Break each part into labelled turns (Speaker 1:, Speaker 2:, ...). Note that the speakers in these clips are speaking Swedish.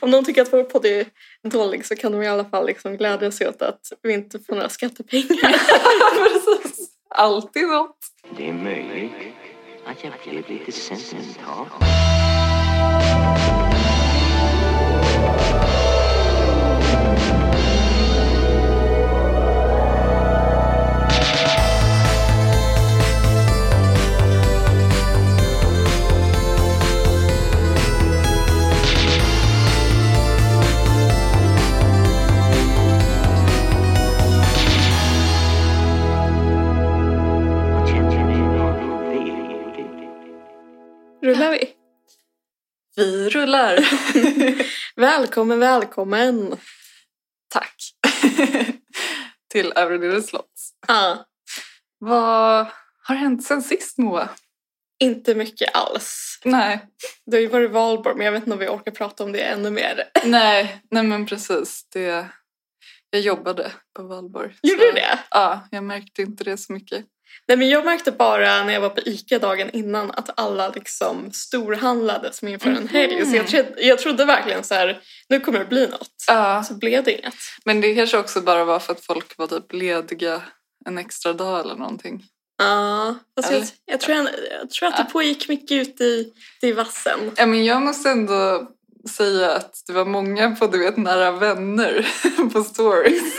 Speaker 1: om någon tycker att vår podd är dålig så kan de i alla fall liksom glädja sig åt att vi inte får några skattepengar.
Speaker 2: Precis. Alltid något.
Speaker 3: Det är möjligt att jag blev lite sentimental. Och känner ni någon vild?
Speaker 1: Rullar vi?
Speaker 2: Vi rullar.
Speaker 1: Välkommen, välkommen!
Speaker 2: Tack. Till Övre slott.
Speaker 1: Ja,
Speaker 2: Vad har hänt sen sist Moa?
Speaker 1: inte mycket alls.
Speaker 2: Nej,
Speaker 1: Det har ju varit valborg men jag vet inte om vi orkar prata om det ännu mer.
Speaker 2: nej, nej men precis. Det, jag jobbade på valborg.
Speaker 1: Gjorde
Speaker 2: Så-
Speaker 1: du det?
Speaker 2: Ja, jag märkte inte det så mycket.
Speaker 1: Nej men jag märkte bara när jag var på ICA dagen innan att alla liksom storhandlade som
Speaker 2: Mhm.
Speaker 1: inför en helg. Så jag, tro- jag trodde verkligen så här, nu kommer det bli något.
Speaker 2: Ja,
Speaker 1: Så blev det inget.
Speaker 2: men det kanske också bara var för att folk var typ lediga en extra dag eller någonting.
Speaker 1: Ja, fast jag,
Speaker 2: Eller?
Speaker 1: jag, tror, jag, jag tror att det
Speaker 2: Ja.
Speaker 1: pågick mycket ute i, i vassen.
Speaker 2: Ja, men jag måste ändå säga att det var många på du vet nära vänner på stories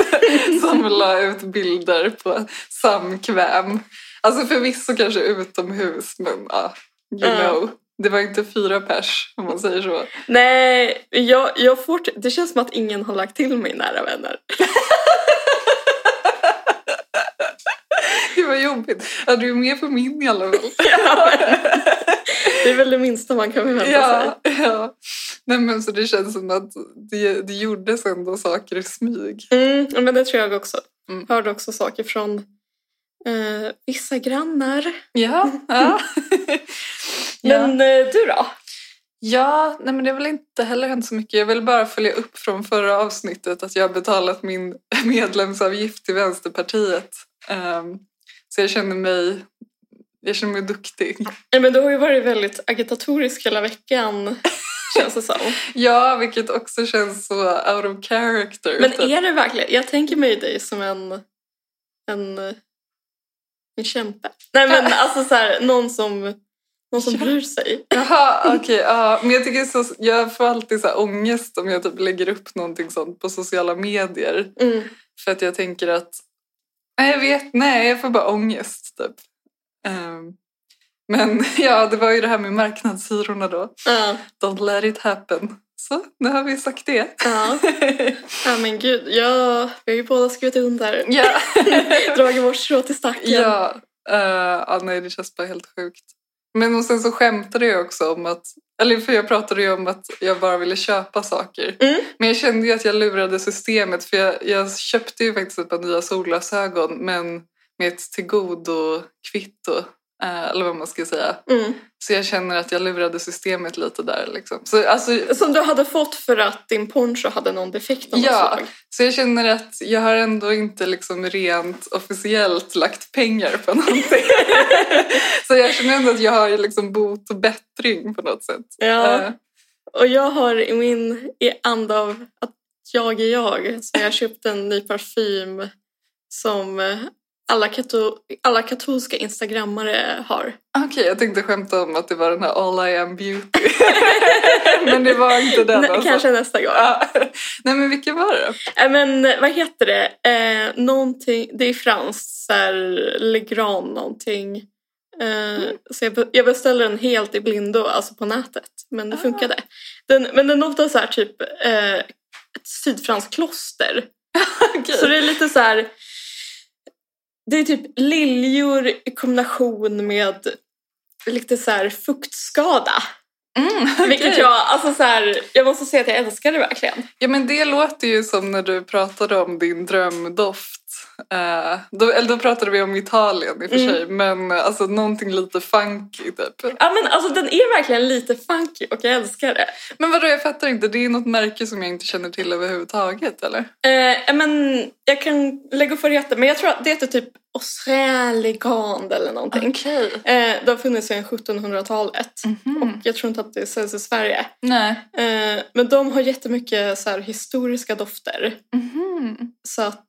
Speaker 2: som la ut bilder på samkväm. Alltså förvisso kanske utomhus men ja, you
Speaker 1: Ja.
Speaker 2: know. Det var inte fyra pers om man säger så.
Speaker 1: Nej, jag, jag får, det känns som att ingen har lagt till mig nära vänner.
Speaker 2: Det var jobbigt. Ja, du är med på min i alla fall.
Speaker 1: Det är väl det minsta man kan förvänta sig.
Speaker 2: Ja, ja. Nej, men så det känns som att det, det gjordes ändå saker i smyg.
Speaker 1: Mm, ja, men det tror jag också.
Speaker 2: Mm.
Speaker 1: Hörde också saker från eh, vissa grannar.
Speaker 2: Ja, ja.
Speaker 1: Men eh, du då?
Speaker 2: Ja, nej men det har väl inte heller hänt så mycket. Jag vill bara följa upp från förra avsnittet att jag har betalat min medlemsavgift till Vänsterpartiet. Ehm, så jag känner mig, jag känner mig duktig.
Speaker 1: Nej, men du har ju varit väldigt agitatorisk hela veckan, känns det som.
Speaker 2: Ja, vilket också känns så out of character.
Speaker 1: Men
Speaker 2: typ.
Speaker 1: är det verkligen... Jag tänker mig dig som en... En, eh, en kämpe. Nej, men alltså så här, någon som, någon som
Speaker 2: Ja.
Speaker 1: bryr sig.
Speaker 2: Jaha, okej. ja. Men jag, tycker så, jag får alltid så här ångest om jag typ lägger upp någonting sånt på sociala medier.
Speaker 1: Mm.
Speaker 2: För att jag tänker att... Nej, jag vet. Nej, jag får bara ångest typ. Ehm, men ja, det var ju det här med marknadshyrorna då.
Speaker 1: Ja,
Speaker 2: Don't let it happen. Så, nu har vi sagt det.
Speaker 1: ja. ja, men gud. Ja, vi har ju båda skrivit under.
Speaker 2: ja.
Speaker 1: Dragit vårt strå till stacken.
Speaker 2: ja. eh, ja, nej, det känns bara helt sjukt. Men och sen så skämtade jag också om att... Eller för jag pratade ju om att jag bara ville köpa saker.
Speaker 1: Mm.
Speaker 2: Men jag kände ju att jag lurade systemet för jag, jag köpte ju faktiskt ett par nya solglasögon men med ett tillgodokvitto. eh, Eller vad man ska säga.
Speaker 1: Mm.
Speaker 2: Så jag känner att jag lurade systemet lite där. Liksom. Så, alltså,
Speaker 1: Som du hade fått för att din poncho hade någon defekt av något
Speaker 2: Ja.
Speaker 1: slag.
Speaker 2: så jag känner att jag har ändå inte liksom rent officiellt lagt pengar på någonting. så jag känner ändå att jag har ju liksom bot och bättring på något sätt.
Speaker 1: Ja.
Speaker 2: Eh,
Speaker 1: Och jag har i min i anda av att jag är jag så har jag köpt en ny parfym som eh, alla, kato, alla katolska instagrammare har.
Speaker 2: Okej, jag tänkte skämta om att det var den här All I am beauty. men det var inte den.
Speaker 1: Nä,
Speaker 2: alltså.
Speaker 1: Kanske nästa gång.
Speaker 2: Ja. Nej men vilken var det då?
Speaker 1: Äh, Men eh, vad heter det? Eh, någonting, det är franskt, så här, Legrand någonting. Eh,
Speaker 2: Mm.
Speaker 1: Så jag, be- jag beställde den helt i blindo, alltså på nätet. Men det
Speaker 2: Ah.
Speaker 1: funkade. Den, men den låter så här typ eh, ett sydfranskt kloster.
Speaker 2: Okej.
Speaker 1: Så det är lite så här... Det är typ liljor i kombination med lite så här fuktskada.
Speaker 2: Mm, okej.
Speaker 1: Vilket jag, alltså så här, jag måste säga att jag älskar det verkligen.
Speaker 2: Ja men det låter ju som när du pratade om din drömdoft Eh, då, eller då pratade vi om Italien i och för
Speaker 1: Mm.
Speaker 2: sig, men eh, alltså någonting lite funky typ.
Speaker 1: Ja men alltså den är verkligen lite funky och jag älskar det.
Speaker 2: Men vadå, jag fattar inte. Det är något märke som jag inte känner till överhuvudtaget, eller?
Speaker 1: Eh, ja, men jag kan lägga upp vad det heter, men jag tror att det heter typ Australigand eller någonting.
Speaker 2: Okej.
Speaker 1: Eh, det har funnits sedan 1700-talet
Speaker 2: Mhm.
Speaker 1: och jag tror inte att det säljs i Sverige.
Speaker 2: Nej.
Speaker 1: Eh, men de har jättemycket så här, historiska dofter.
Speaker 2: Mhm.
Speaker 1: Så att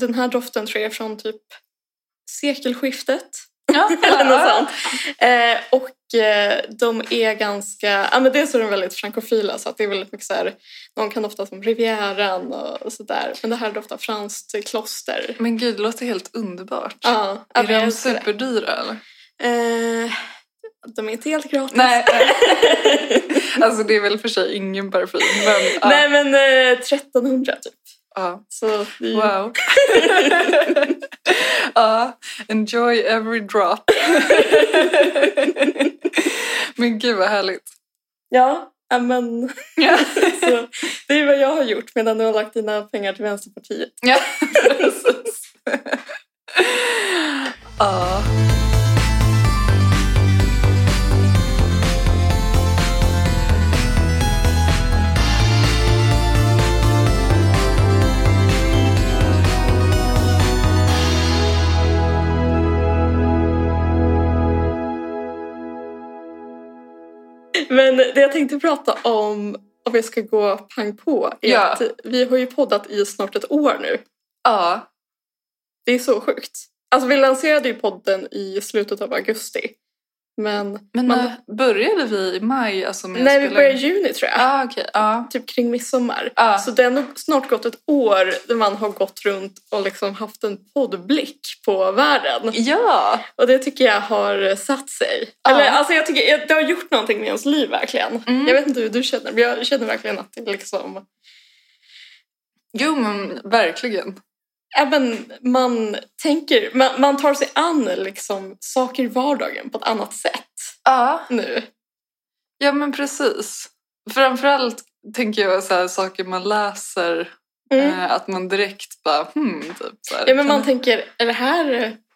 Speaker 1: den här doften tror jag är från typ sekelskiftet.
Speaker 2: Ja.
Speaker 1: Eller något sånt. Eh, och eh, de är ganska, ja men dels är de väldigt frankofila så att det är väldigt mycket så här, någon kan dofta som Rivieran och sådär. Men det här doftar franskt kloster.
Speaker 2: Men gud, det låter helt underbart.
Speaker 1: Ja, ja,
Speaker 2: Är
Speaker 1: men jag
Speaker 2: alltså- de
Speaker 1: älskar det.
Speaker 2: superdyra eller?
Speaker 1: Eh, de är inte helt gratis.
Speaker 2: Nej. alltså det är väl för sig ingen parfym. Men, ja,
Speaker 1: Nej men eh, 1300 typ.
Speaker 2: ja.
Speaker 1: Så det är ju-
Speaker 2: Wow. ja, enjoy every drop. men gud vad härligt.
Speaker 1: Ja, ja, men
Speaker 2: Ja.
Speaker 1: så, det är vad jag har gjort medan du har lagt dina pengar till Vänsterpartiet.
Speaker 2: Ja, precis. Ja.
Speaker 1: Men det jag tänkte prata om, om jag ska gå pang på, är
Speaker 2: Ja.
Speaker 1: att vi har ju poddat i snart ett år nu.
Speaker 2: Ja.
Speaker 1: Det är så sjukt. Alltså vi lanserade ju podden i slutet av augusti. Men,
Speaker 2: Men
Speaker 1: Man-
Speaker 2: när började vi i maj? Alltså, med att
Speaker 1: nej, vi
Speaker 2: spela
Speaker 1: började i
Speaker 2: Mm, in?
Speaker 1: juni tror jag.
Speaker 2: Ah, okej. Ja. Ah.
Speaker 1: Typ kring midsommar.
Speaker 2: Ja.
Speaker 1: Så det har nog snart gått ett år där man har gått runt och liksom haft en poddblick på världen.
Speaker 2: ja.
Speaker 1: Och det tycker jag har satt sig.
Speaker 2: Ja.
Speaker 1: Eller alltså jag tycker jag- det har gjort någonting med ens liv verkligen.
Speaker 2: Mm.
Speaker 1: Jag vet inte hur du känner men jag känner verkligen att det liksom
Speaker 2: Jo, men verkligen.
Speaker 1: Även man tänker, man, man tar sig an liksom saker i vardagen på ett annat sätt
Speaker 2: Ja,
Speaker 1: nu.
Speaker 2: Ah. ja men precis. Framförallt tänker jag så här, saker man läser,
Speaker 1: Mm.
Speaker 2: eh, att man direkt bara hmm, typ så här.
Speaker 1: Ja, men man
Speaker 2: Kan-
Speaker 1: tänker, är det här,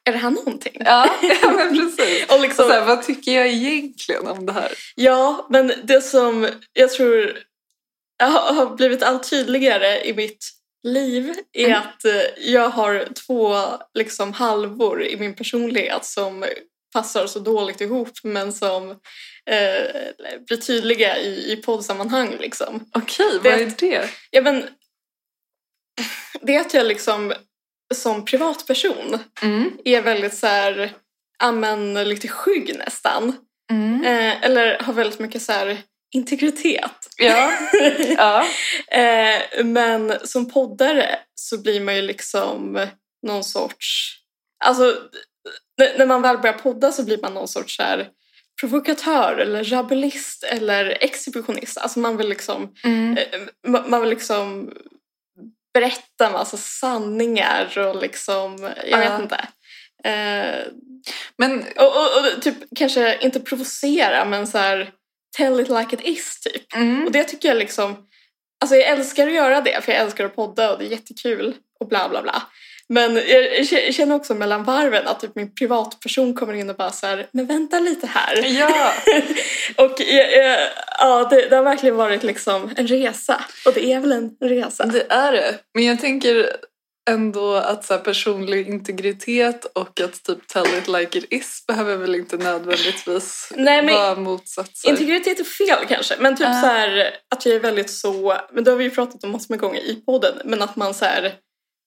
Speaker 1: är det här någonting?
Speaker 2: ja, ja, men precis.
Speaker 1: Och
Speaker 2: Så
Speaker 1: liksom,
Speaker 2: här, vad tycker jag egentligen om det här?
Speaker 1: ja, men det som jag tror har har blivit allt tydligare i mitt liv är
Speaker 2: Mm.
Speaker 1: att eh, jag har två liksom, halvor i min personlighet som passar så dåligt ihop men som eh, blir tydliga i, i poddsammanhang. Liksom.
Speaker 2: Okej,
Speaker 1: Det-
Speaker 2: vad är det?
Speaker 1: Ja, men, det är att jag liksom som privatperson
Speaker 2: Mm.
Speaker 1: är väldigt så här, ja, men lite skygg nästan.
Speaker 2: Mm.
Speaker 1: Eh, eller har väldigt mycket så här integritet.
Speaker 2: Ja, ja.
Speaker 1: eh, men som poddare så blir man ju liksom någon sorts... Alltså, n- när man väl börjar podda så blir man någon sorts så här provokatör eller rabulist eller exhibitionist. Alltså man vill liksom
Speaker 2: Mm.
Speaker 1: Eh, ma- man vill liksom berätta en massa sanningar och liksom, jag
Speaker 2: Ja.
Speaker 1: vet inte. Eh,
Speaker 2: Men
Speaker 1: och, och, och typ kanske inte provocera men så här tell it like it is typ.
Speaker 2: mm.
Speaker 1: Och det tycker jag liksom, alltså jag älskar att göra det för jag älskar att podda och det är jättekul och bla bla bla. Men jag k- känner också mellan varven att typ min privatperson kommer in och bara så här, men vänta lite här.
Speaker 2: ja.
Speaker 1: Och eh, eh, ja, det, det har verkligen varit liksom en resa. Och det är väl en resa.
Speaker 2: Det är det. Men jag tänker ändå att så här, personlig integritet och att typ tell it like it is behöver väl inte nödvändigtvis
Speaker 1: Nej, men-
Speaker 2: vara motsatser.
Speaker 1: Integritet är fel kanske, men typ
Speaker 2: Ja.
Speaker 1: så här att jag är väldigt så, men det har vi ju pratat om massor med gånger i podden, men att man så här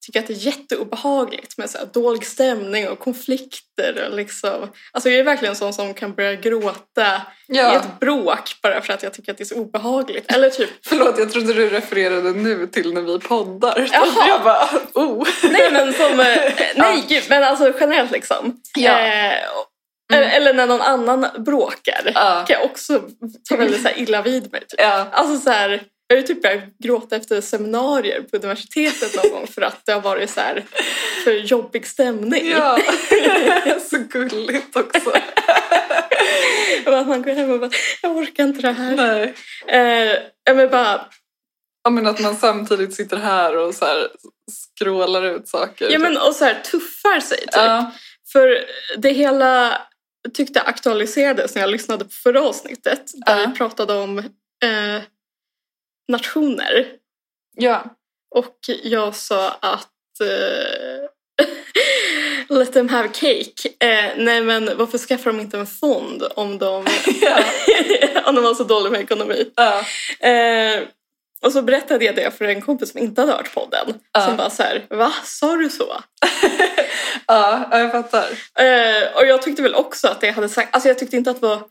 Speaker 1: tycker att det är jätteobehagligt med så här dålig stämning och konflikter och liksom, alltså jag är verkligen en sån som kan börja gråta i
Speaker 2: ja.
Speaker 1: ett bråk bara för att jag tycker att det är så obehagligt. Eller typ,
Speaker 2: Förlåt, jag trodde du refererade nu till när vi poddar.
Speaker 1: Jaha.
Speaker 2: Jag bara, oh.
Speaker 1: Nej men som, eh, nej gud, men alltså generellt liksom.
Speaker 2: Ja. Mm.
Speaker 1: Eh, och- eller- Eller när någon annan bråkar.
Speaker 2: Ja.
Speaker 1: kan jag också ta väldigt så här illa vid mig. Typ.
Speaker 2: Ja.
Speaker 1: Alltså så här, jag har ju typ börjat gråta efter seminarier på universitetet någon gång för att det har varit så här för jobbig stämning.
Speaker 2: ja. Så gulligt också.
Speaker 1: Och att man går hem och bara, jag orkar inte det här.
Speaker 2: Nej.
Speaker 1: Eh, ja, men bara,
Speaker 2: Ja, men att man samtidigt sitter här och så här skrålar ut saker. typ.
Speaker 1: Ja, men och så här tuffar sig typ.
Speaker 2: Ja,
Speaker 1: För det hela tyckte jag aktualiserades när jag lyssnade på förra avsnittet där
Speaker 2: Ja.
Speaker 1: vi pratade om eh, nationer.
Speaker 2: ja.
Speaker 1: Och jag sa att eh, let them have cake. Eh, nej men varför skaffar de inte en fond om de,
Speaker 2: ja.
Speaker 1: om de har så dålig med ekonomi?
Speaker 2: ja.
Speaker 1: Eh, och så berättade jag det för en kompis som inte hade hört podden.
Speaker 2: Ja.
Speaker 1: Som bara så här, va? Sa du så?
Speaker 2: ja jag fattar.
Speaker 1: Eh, och jag tyckte väl också att det jag hade sagt, alltså jag tyckte inte att det var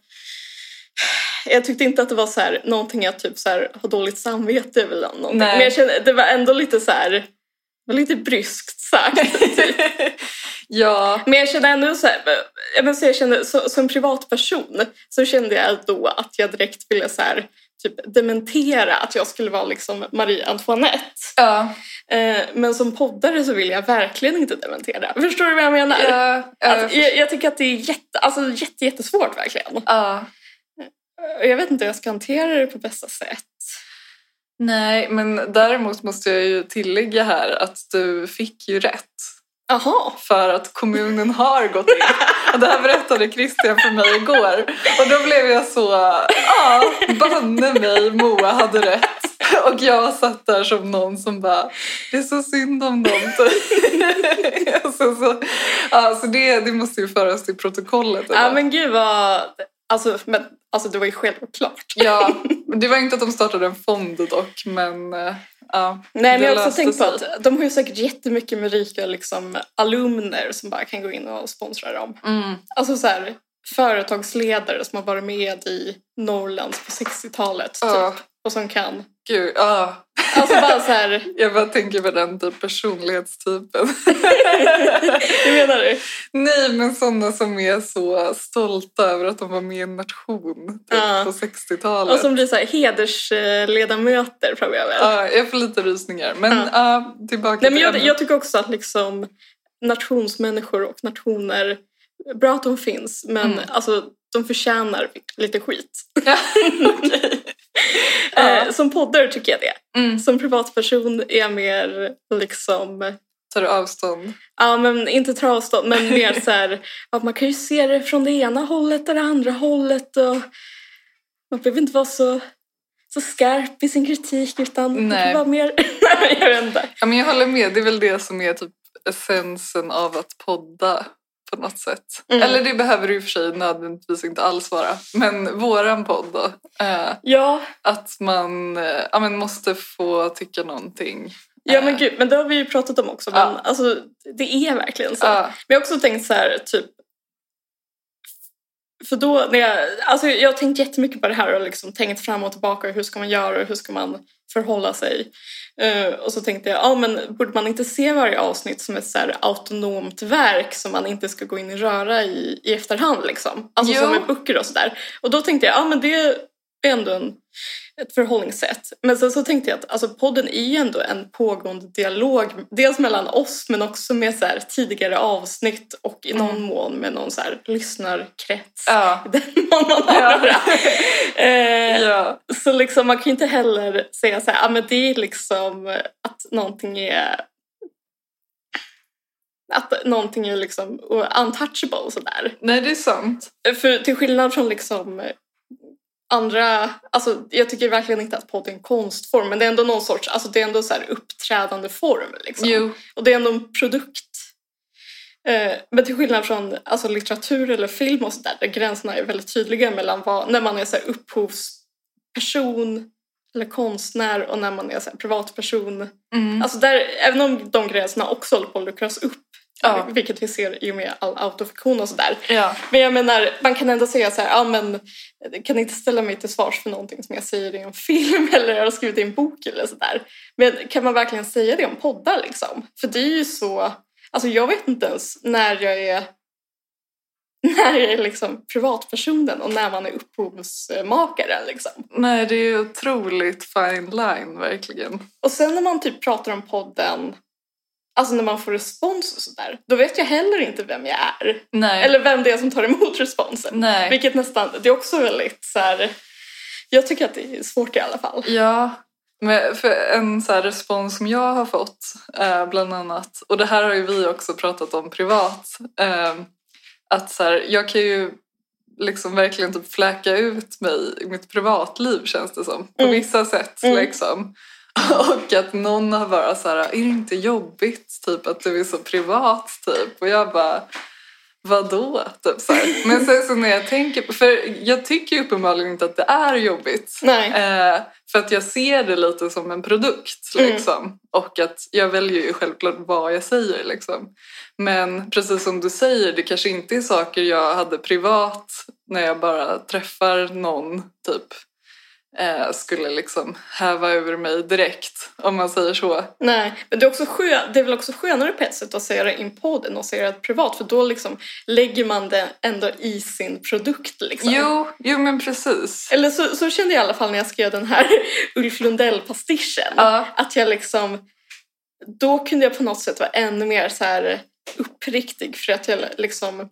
Speaker 1: jag tyckte inte att det var så här, någonting jag typ så här, har dåligt samvete över. eller Någonting.
Speaker 2: Nej.
Speaker 1: Men jag kände, det var ändå lite så här, det var lite bryskt sagt. typ.
Speaker 2: ja,
Speaker 1: Men jag kände ändå så här, jag menar, så jag kände, så, som privatperson så kände jag då att jag direkt ville så här, typ dementera att jag skulle vara liksom Marie Antoinette.
Speaker 2: ja,
Speaker 1: Eh, men som poddare så vill jag verkligen inte dementera. Förstår du vad jag menar?
Speaker 2: ja, ja,
Speaker 1: Att, jag, jag tycker att det är jätte, alltså, jätte, jättesvårt verkligen.
Speaker 2: ja.
Speaker 1: Och Eh, Jag vet inte hur jag ska hantera det på bästa sätt.
Speaker 2: Nej, men däremot måste jag ju tillägga här att du fick ju rätt.
Speaker 1: Jaha.
Speaker 2: För att kommunen har gått in. Och det här berättade Christian för mig igår. Och då blev jag så, ja, banne mig, Moa hade rätt. Och jag satt där som någon som bara, det är så synd om dem. så, så, ja, så det, det måste ju föras till protokollet.
Speaker 1: Ja
Speaker 2: eller?
Speaker 1: men gud vad... Alltså, men, alltså det var ju självklart.
Speaker 2: Ja, det var inte att de startade en fond dock, men eh, ja.
Speaker 1: Nej men
Speaker 2: det
Speaker 1: jag har också
Speaker 2: löste
Speaker 1: tänkt på
Speaker 2: sig.
Speaker 1: att de har ju säkert jättemycket med rika liksom, alumner som bara kan gå in och sponsra dem.
Speaker 2: Mm.
Speaker 1: Alltså så här, företagsledare som har varit med i Norrlands på 60-talet typ.
Speaker 2: Ja,
Speaker 1: Och som kan...
Speaker 2: gud. Ja.
Speaker 1: Alltså bara så här,
Speaker 2: Jag bara tänker på den typ personlighetstypen.
Speaker 1: hur menar du?
Speaker 2: Nej, men sådana som är så stolta över att de var med i en nation typ,
Speaker 1: Ja.
Speaker 2: på
Speaker 1: Och
Speaker 2: 60-talet.
Speaker 1: som blir så här, hedersledamöter framöver.
Speaker 2: Ja, jag får lite rysningar. Men
Speaker 1: Ja.
Speaker 2: ja, tillbaka
Speaker 1: Nej, men jag,
Speaker 2: ämnet.
Speaker 1: jag tycker också att liksom nationsmänniskor och nationer, bra att de finns, men
Speaker 2: Mm.
Speaker 1: alltså, de förtjänar lite skit.
Speaker 2: Ja,
Speaker 1: Eh, som poddar tycker jag det.
Speaker 2: mm,
Speaker 1: Som privatperson är jag mer liksom,
Speaker 2: tar du avstånd?
Speaker 1: ja men inte travstånd, men mer så här, att man kan ju se det från det ena hållet och det andra hållet och man behöver inte vara så, så skarp i sin kritik utan man
Speaker 2: Nej.
Speaker 1: kan vara mer, Nej, jag vet inte.
Speaker 2: Ja, men jag håller med. Det är väl det som är typ essensen av att podda på något sätt.
Speaker 1: Mm.
Speaker 2: Eller det behöver det ju för sig nödvändigtvis inte alls vara. Men våran podd då. eh,
Speaker 1: Ja,
Speaker 2: att man eh, ja, men måste få tycka någonting.
Speaker 1: Ja
Speaker 2: Eh,
Speaker 1: men gud, men det har vi ju pratat om också. Men
Speaker 2: Ja.
Speaker 1: alltså, det är verkligen så.
Speaker 2: ja,
Speaker 1: Men jag har också tänkt så här, typ... För då, när jag, alltså jag har tänkt jättemycket på det här och liksom tänkt fram och tillbaka. Hur ska man göra och hur ska man förhålla sig? Eh, och så tänkte jag, ja men borde man inte se varje avsnitt som ett så här autonomt verk som man inte ska gå in och röra i i efterhand liksom? Alltså
Speaker 2: Jo.
Speaker 1: som med böcker och sådär. Och då tänkte jag, ja men det är ändå en, ett förhållningssätt. Men sen så tänkte jag att alltså, podden är ju ändå en pågående dialog. Dels mellan oss men också med så här, tidigare avsnitt och i någon
Speaker 2: Mm.
Speaker 1: mån med någon så här, lyssnarkrets.
Speaker 2: ja,
Speaker 1: I Den mån man har
Speaker 2: Ja.
Speaker 1: några. Eh,
Speaker 2: ja,
Speaker 1: Så liksom, man kan ju inte heller säga så här, ah, men det är liksom eh, att någonting är att någonting är liksom eh, untouchable och sådär.
Speaker 2: nej det är sant.
Speaker 1: För till skillnad från liksom eh, andra, alltså jag tycker verkligen inte att podd är en konstform men det är ändå någon sorts, alltså det är ändå så här uppträdande form liksom.
Speaker 2: Jo,
Speaker 1: Och det är ändå en produkt. Eh, Men till skillnad från alltså, litteratur eller film och sådär där gränserna är väldigt tydliga mellan vad, när man är så här, upphovsperson eller konstnär och när man är så här, privatperson.
Speaker 2: mm.
Speaker 1: Alltså där, även om de gränserna också håller på att luckras upp,
Speaker 2: Ja.
Speaker 1: vilket vi ser i och med all autofiktion och sådär.
Speaker 2: ja,
Speaker 1: Men jag menar, man kan ändå säga så här, ja men jag kan inte ställa mig till svars för någonting som jag säger i en film eller jag har skrivit i en bok eller sådär. Men kan man verkligen säga det om poddar liksom? För det är ju så, alltså jag vet inte ens när jag är när jag är liksom privatpersonen och när man är upphovsmakaren liksom.
Speaker 2: nej det är ju otroligt fine line verkligen.
Speaker 1: Och sen när man typ pratar om podden, alltså när man får respons och sådär, då vet jag heller inte vem jag är.
Speaker 2: Nej,
Speaker 1: Eller vem det är som tar emot responsen.
Speaker 2: nej.
Speaker 1: Vilket nästan, det är också väldigt så här. Jag tycker att det är svårt i alla fall.
Speaker 2: Ja, Men för en så här respons som jag har fått, eh, bland annat, och det här har ju vi också pratat om privat, eh, att så här, jag kan ju liksom verkligen typ fläka ut mig i mitt privatliv känns det som, på
Speaker 1: Mm.
Speaker 2: vissa sätt
Speaker 1: Mm.
Speaker 2: liksom. Och att någon har bara så här, är det inte jobbigt typ att du är så privat typ? Och jag bara, vadå? Typ så här. Men sen så när jag tänker, på- för jag tycker ju uppenbarligen inte att det är jobbigt.
Speaker 1: Nej.
Speaker 2: Eh, för att jag ser det lite som en produkt.
Speaker 1: Mm.
Speaker 2: Liksom. Och att jag väljer ju självklart vad jag säger. Liksom. Men precis som du säger, det kanske inte är saker jag hade privat när jag bara träffar någon. typ eh, skulle liksom häva ur mig direkt, om man säger så.
Speaker 1: Nej, men det är, också skö- det är väl också skönare på ett sätt att säga det i en podd än att säga det privat för då liksom lägger man det ändå i sin produkt. Liksom.
Speaker 2: Jo, jo, men precis.
Speaker 1: Eller så, så kände jag i alla fall när jag skrev den här Ulf Lundell-pastischen.
Speaker 2: Ja,
Speaker 1: Att jag liksom, då kunde jag på något sätt vara ännu mer så här uppriktig för att jag liksom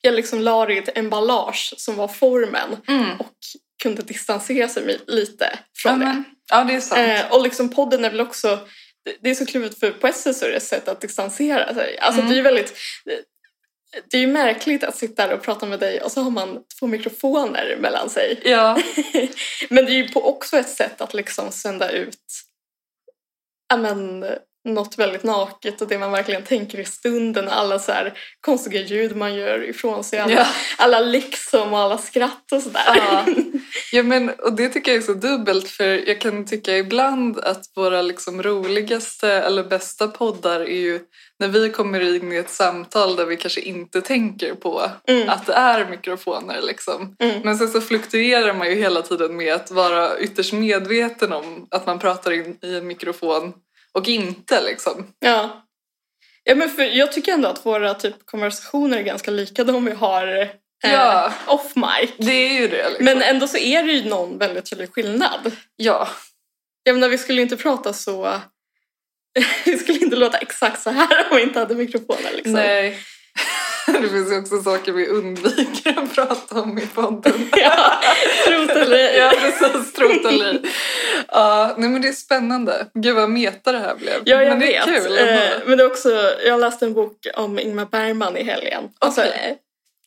Speaker 1: jag liksom la det i ett emballage som var formen
Speaker 2: mm.
Speaker 1: och kunde distansera sig mi- lite
Speaker 2: ja,
Speaker 1: från det.
Speaker 2: men, ja det är sant.
Speaker 1: Eh, och liksom podden är väl också, det- det är så klurigt för på ett sätt så är det ett sätt att distansera sig. Alltså
Speaker 2: Mm.
Speaker 1: det är ju väldigt, det är ju märkligt att sitta där och prata med dig och så har man två mikrofoner mellan sig.
Speaker 2: Ja,
Speaker 1: Men det är ju på också ett sätt att liksom sända ut ja, men, något väldigt naket och det man verkligen tänker i stunden. Alla så här konstiga ljud man gör ifrån sig, alla,
Speaker 2: ja.
Speaker 1: alla liksom och alla skratt och sådär.
Speaker 2: Ja. Ja, men, och det tycker jag är så dubbelt för jag kan tycka ibland att våra liksom roligaste eller bästa poddar är ju när vi kommer in i ett samtal där vi kanske inte tänker på
Speaker 1: Mm.
Speaker 2: att det är mikrofoner. Liksom.
Speaker 1: Mm.
Speaker 2: Men sen så fluktuerar man ju hela tiden med att vara ytterst medveten om att man pratar in i en mikrofon och inte. Liksom.
Speaker 1: Ja. ja men för jag tycker ändå att våra typ konversationer är ganska lika de vi har eh,
Speaker 2: Ja.
Speaker 1: off mic.
Speaker 2: Det är ju det. Liksom.
Speaker 1: Men ändå så är det ju någon väldigt tydlig skillnad.
Speaker 2: ja.
Speaker 1: Jag menar, vi skulle ju inte prata så... vi skulle inte låta exakt så här om vi inte hade mikrofoner. Liksom.
Speaker 2: Nej. Det finns ju också saker vi undviker att prata om i podden.
Speaker 1: Ja, trot eller ej.
Speaker 2: Ja, precis. Trot eller ej. Ja, nej men det är spännande. Gud vad meta det här blev.
Speaker 1: Ja, jag
Speaker 2: men det
Speaker 1: vet.
Speaker 2: är kul.
Speaker 1: Eh,
Speaker 2: ändå.
Speaker 1: men det är också, jag läste en bok om Ingmar Bergman i helgen. Alltså,
Speaker 2: Okej.
Speaker 1: eh,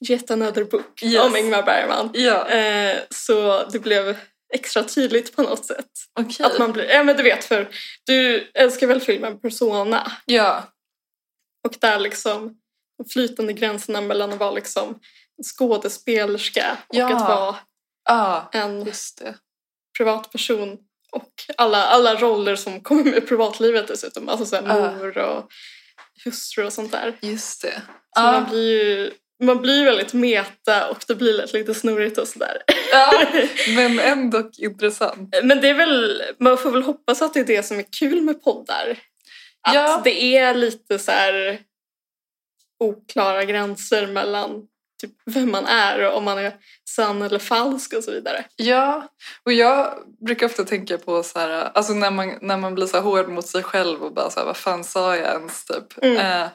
Speaker 1: Yet another book
Speaker 2: Yes.
Speaker 1: om Ingmar Bergman.
Speaker 2: Ja,
Speaker 1: Eh, så det blev extra tydligt på något sätt.
Speaker 2: okej.
Speaker 1: Att man blir, ja men du vet för du älskar väl filmen Persona
Speaker 2: Ja,
Speaker 1: och där liksom de flytande gränserna mellan att vara liksom en skådespelerska och
Speaker 2: Ja.
Speaker 1: att vara
Speaker 2: ah,
Speaker 1: en
Speaker 2: just det.
Speaker 1: privatperson och alla, alla roller som kommer med privatlivet dessutom, alltså såhär
Speaker 2: Ja.
Speaker 1: mor och hustru och sånt där.
Speaker 2: Just det.
Speaker 1: Så
Speaker 2: Ah.
Speaker 1: man blir ju man blir ju väldigt meta och det blir lätt lite snurrigt och sådär.
Speaker 2: Ja, men ändå intressant.
Speaker 1: Men det är väl, man får väl hoppas att det är det som är kul med poddar. Att
Speaker 2: Ja.
Speaker 1: det är lite så här oklara gränser mellan typ vem man är och om man är sann eller falsk och så vidare.
Speaker 2: Ja, och jag brukar ofta tänka på så här, alltså när man, när man blir så här hård mot sig själv och bara så här, vad fan sa jag ens typ?
Speaker 1: Mm.
Speaker 2: Eh,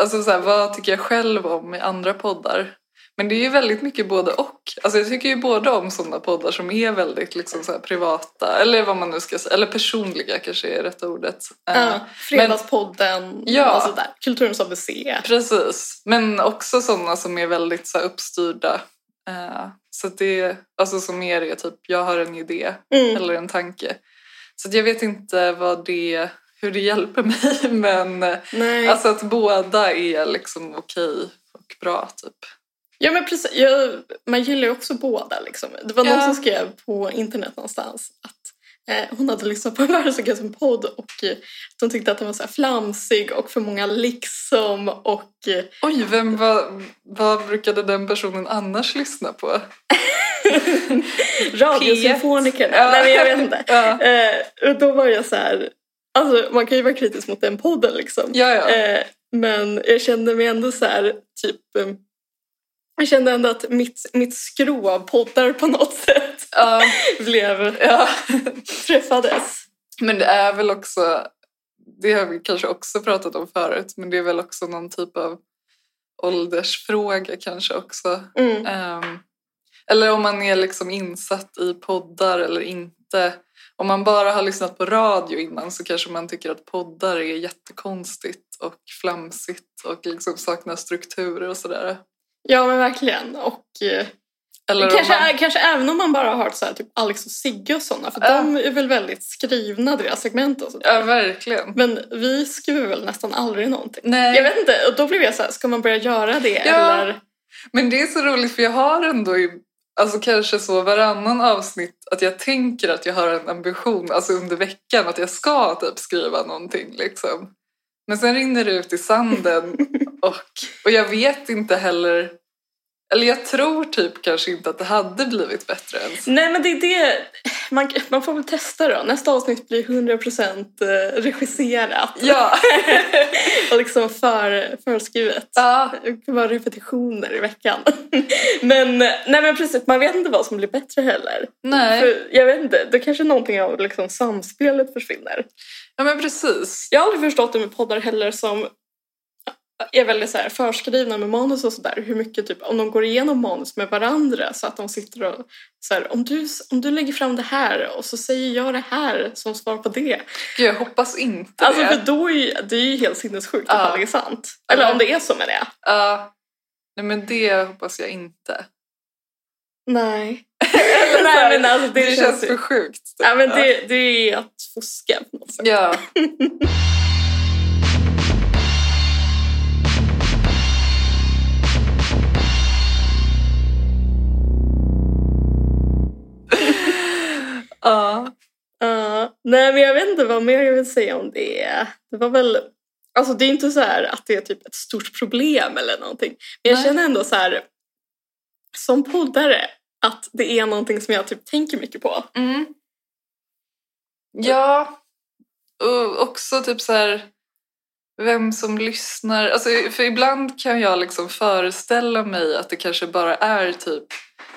Speaker 2: alltså så här, vad tycker jag själv om i andra poddar? Men det är ju väldigt mycket både och. Alltså jag tycker ju både om sådana poddar som är väldigt liksom så här privata, eller vad man nu ska säga, eller personliga kanske är rätta ordet. Eh,
Speaker 1: Ja, Fredagspodden
Speaker 2: Ja.
Speaker 1: och sådär. Kulturens ABC.
Speaker 2: Precis, men också sådana som är väldigt så här, uppstyrda. Eh, så att det, alltså som mer är typ, jag har en idé
Speaker 1: Mm.
Speaker 2: eller en tanke. Så att jag vet inte vad det, hur det hjälper mig men eh,
Speaker 1: Nej.
Speaker 2: alltså att båda är liksom okej och bra typ.
Speaker 1: Ja, men precis. Jag, man gillar ju också båda. Liksom. Det var någon
Speaker 2: Ja.
Speaker 1: som skrev på internet någonstans att eh, hon hade lyssnat på en Världsugasm-podd och eh, att hon tyckte att den var så här flamsig och för många liksom och eh,
Speaker 2: Oj, vem var, vad brukade den personen annars lyssna på?
Speaker 1: radiosymfonikerna.
Speaker 2: Ja.
Speaker 1: Nej, men jag vet inte.
Speaker 2: Ja,
Speaker 1: Eh, och då var jag så här... Alltså, man kan ju vara kritisk mot den podden liksom.
Speaker 2: ja. ja.
Speaker 1: Eh, men jag kände mig ändå så här, typ... eh, Jag kände ändå att mitt, mitt skrå av poddar på något sätt
Speaker 2: ja.
Speaker 1: blev
Speaker 2: ja.
Speaker 1: träffades.
Speaker 2: Men det är väl också, det har vi kanske också pratat om förut, men det är väl också någon typ av åldersfråga kanske också.
Speaker 1: Mm.
Speaker 2: Ehm, eller om man är liksom insatt i poddar eller inte. inte... Om man bara har lyssnat på radio innan så kanske man tycker att poddar är jättekonstigt och flamsigt och liksom saknar strukturer och sådär.
Speaker 1: Ja men verkligen. Och eh,
Speaker 2: Eller om
Speaker 1: kanske, eh,
Speaker 2: man,
Speaker 1: kanske även om man bara har hört så här, typ Alex och Sigge och sådana. För
Speaker 2: Ja.
Speaker 1: de är väl väldigt skrivna deras segment och sånt. där.
Speaker 2: ja, verkligen.
Speaker 1: Men vi skriver väl nästan aldrig någonting.
Speaker 2: Nej.
Speaker 1: Jag vet inte, och då blev jag så här, ska man börja göra det?
Speaker 2: Ja.
Speaker 1: Eller?
Speaker 2: Men det är så roligt för jag har ändå i, alltså kanske så varannan avsnitt att jag tänker att jag har en ambition alltså under veckan att jag ska typ skriva någonting liksom. Men sen rinner det ut i sanden och, och jag vet inte heller eller jag tror typ kanske inte att det hade blivit bättre ens.
Speaker 1: Nej men det är det, man, man får väl testa då. Nästa avsnitt blir 100% eh, regisserat
Speaker 2: Ja,
Speaker 1: och liksom för, förskrivet.
Speaker 2: ja,
Speaker 1: Det kan vara repetitioner i veckan. men, eh, nej men precis, man vet inte vad som blir bättre heller.
Speaker 2: nej.
Speaker 1: För, jag vet inte, då kanske någonting av liksom samspelet försvinner.
Speaker 2: Ja men precis.
Speaker 1: Jag har aldrig förstått det med poddar heller som är väldigt så här förskrivna med manus och sådär. Hur mycket typ, om de går igenom manus med varandra så att de sitter och så här, om du, om du lägger fram det här och så säger jag det här som svar på det.
Speaker 2: Gud, jag hoppas inte
Speaker 1: Alltså
Speaker 2: det.
Speaker 1: för då är ju, det är ju helt sinnessjukt
Speaker 2: Ja.
Speaker 1: ifall det är sant. Eller om det är så menar jag.
Speaker 2: Ja. nej men det hoppas jag inte.
Speaker 1: Nej. Nej men alltså det,
Speaker 2: Det, känns,
Speaker 1: känns
Speaker 2: för
Speaker 1: ju...
Speaker 2: sjukt. typ.
Speaker 1: Ja men det, det är att fuska på något sätt.
Speaker 2: Ja. Ja.
Speaker 1: Ja, nej men jag vet inte vad mer jag vill säga om det. Det var väl, alltså det är inte så här att det är typ ett stort problem eller någonting. Men jag
Speaker 2: Nej.
Speaker 1: känner ändå så här som poddare att det är någonting som jag typ tänker mycket på.
Speaker 2: Mm. Ja. Och också typ så här vem som lyssnar. Alltså, för ibland kan jag liksom föreställa mig att det kanske bara är typ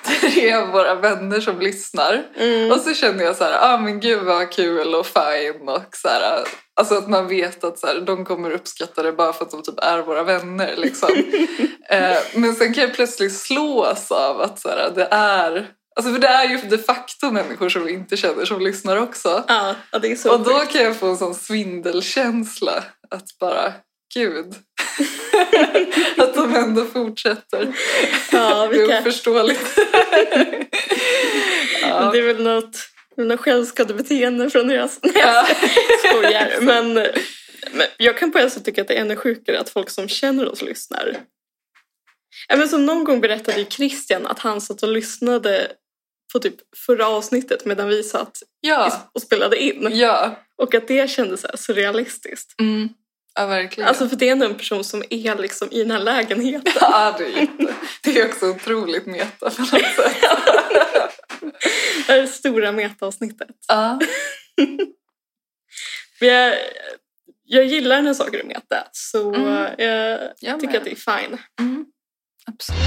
Speaker 2: tre av våra vänner som lyssnar.
Speaker 1: Mm.
Speaker 2: Och så känner jag så här, ah, men gud vad kul och fine och så här, alltså att man vet att så här, de kommer uppskatta det bara för att de typ är våra vänner liksom. eh, men sen kan jag plötsligt slås av att så här, det är, alltså för det är ju de facto människor som vi inte känner som lyssnar också.
Speaker 1: Ja, ja, det är så.
Speaker 2: Och då kan jag få en sån svindelkänsla att bara, gud. att de ändå fortsätter.
Speaker 1: ja,
Speaker 2: Det
Speaker 1: vilka,
Speaker 2: är oförståeligt. ja.
Speaker 1: Det är väl något, det är något självskadebeteende från deras... Nej,
Speaker 2: Ja.
Speaker 1: jag
Speaker 2: Oh,
Speaker 1: skojar. Men, men jag kan på ett sätt tycka att det är ännu sjukare att folk som känner oss lyssnar. Även som någon gång berättade ju Christian att han satt och lyssnade på typ förra avsnittet medan vi satt
Speaker 2: ja.
Speaker 1: och spelade in.
Speaker 2: Ja,
Speaker 1: Och att det kändes så här surrealistiskt.
Speaker 2: mm. ja verkligen.
Speaker 1: Alltså för det är ändå en person som är liksom i den här lägenheten.
Speaker 2: ja, det, är jätte... det är också otroligt meta på något sätt.
Speaker 1: Det här är det stora metaavsnittet.
Speaker 2: Ja.
Speaker 1: Men jag, jag gillar när saker är meta så
Speaker 2: Mm.
Speaker 1: jag
Speaker 2: Jag
Speaker 1: tycker
Speaker 2: med.
Speaker 1: att det är fine.
Speaker 2: Mm. Absolut.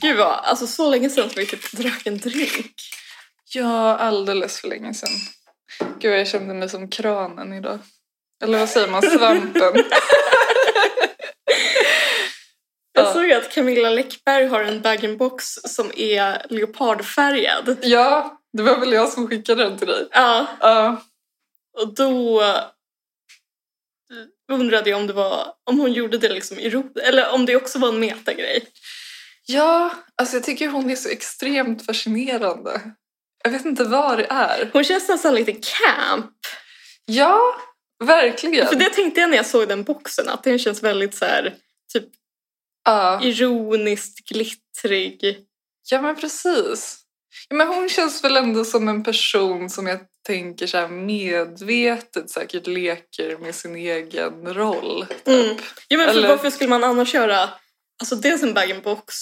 Speaker 1: Gud vad, alltså så länge sedan som vi typ drack en drink.
Speaker 2: Ja, alldeles för länge sedan. Gud, jag kände mig som kranen idag. Eller vad säger man? Svampen.
Speaker 1: Jag
Speaker 2: Ja.
Speaker 1: såg att Camilla Läckberg har en bag-in-box som är leopardfärgad.
Speaker 2: ja, det var väl jag som skickade den till dig.
Speaker 1: Ja,
Speaker 2: Ja,
Speaker 1: och då undrade jag om det var, om hon gjorde det liksom i ro, eller om det också var en metagrej.
Speaker 2: ja alltså jag tycker hon är så extremt fascinerande. Jag vet inte vad det är.
Speaker 1: Hon känns nästan lite camp.
Speaker 2: Ja, verkligen.
Speaker 1: För det tänkte jag när jag såg den boxen, att den känns väldigt så här typ
Speaker 2: Ja.
Speaker 1: ironiskt glittrig.
Speaker 2: Ja men precis. Ja, men hon känns väl ändå som en person som jag tänker så här medvetet säkert leker med sin egen roll.
Speaker 1: Mm. Ja, men för
Speaker 2: Eller-
Speaker 1: Varför skulle man annars göra alltså dels en bag-in-box,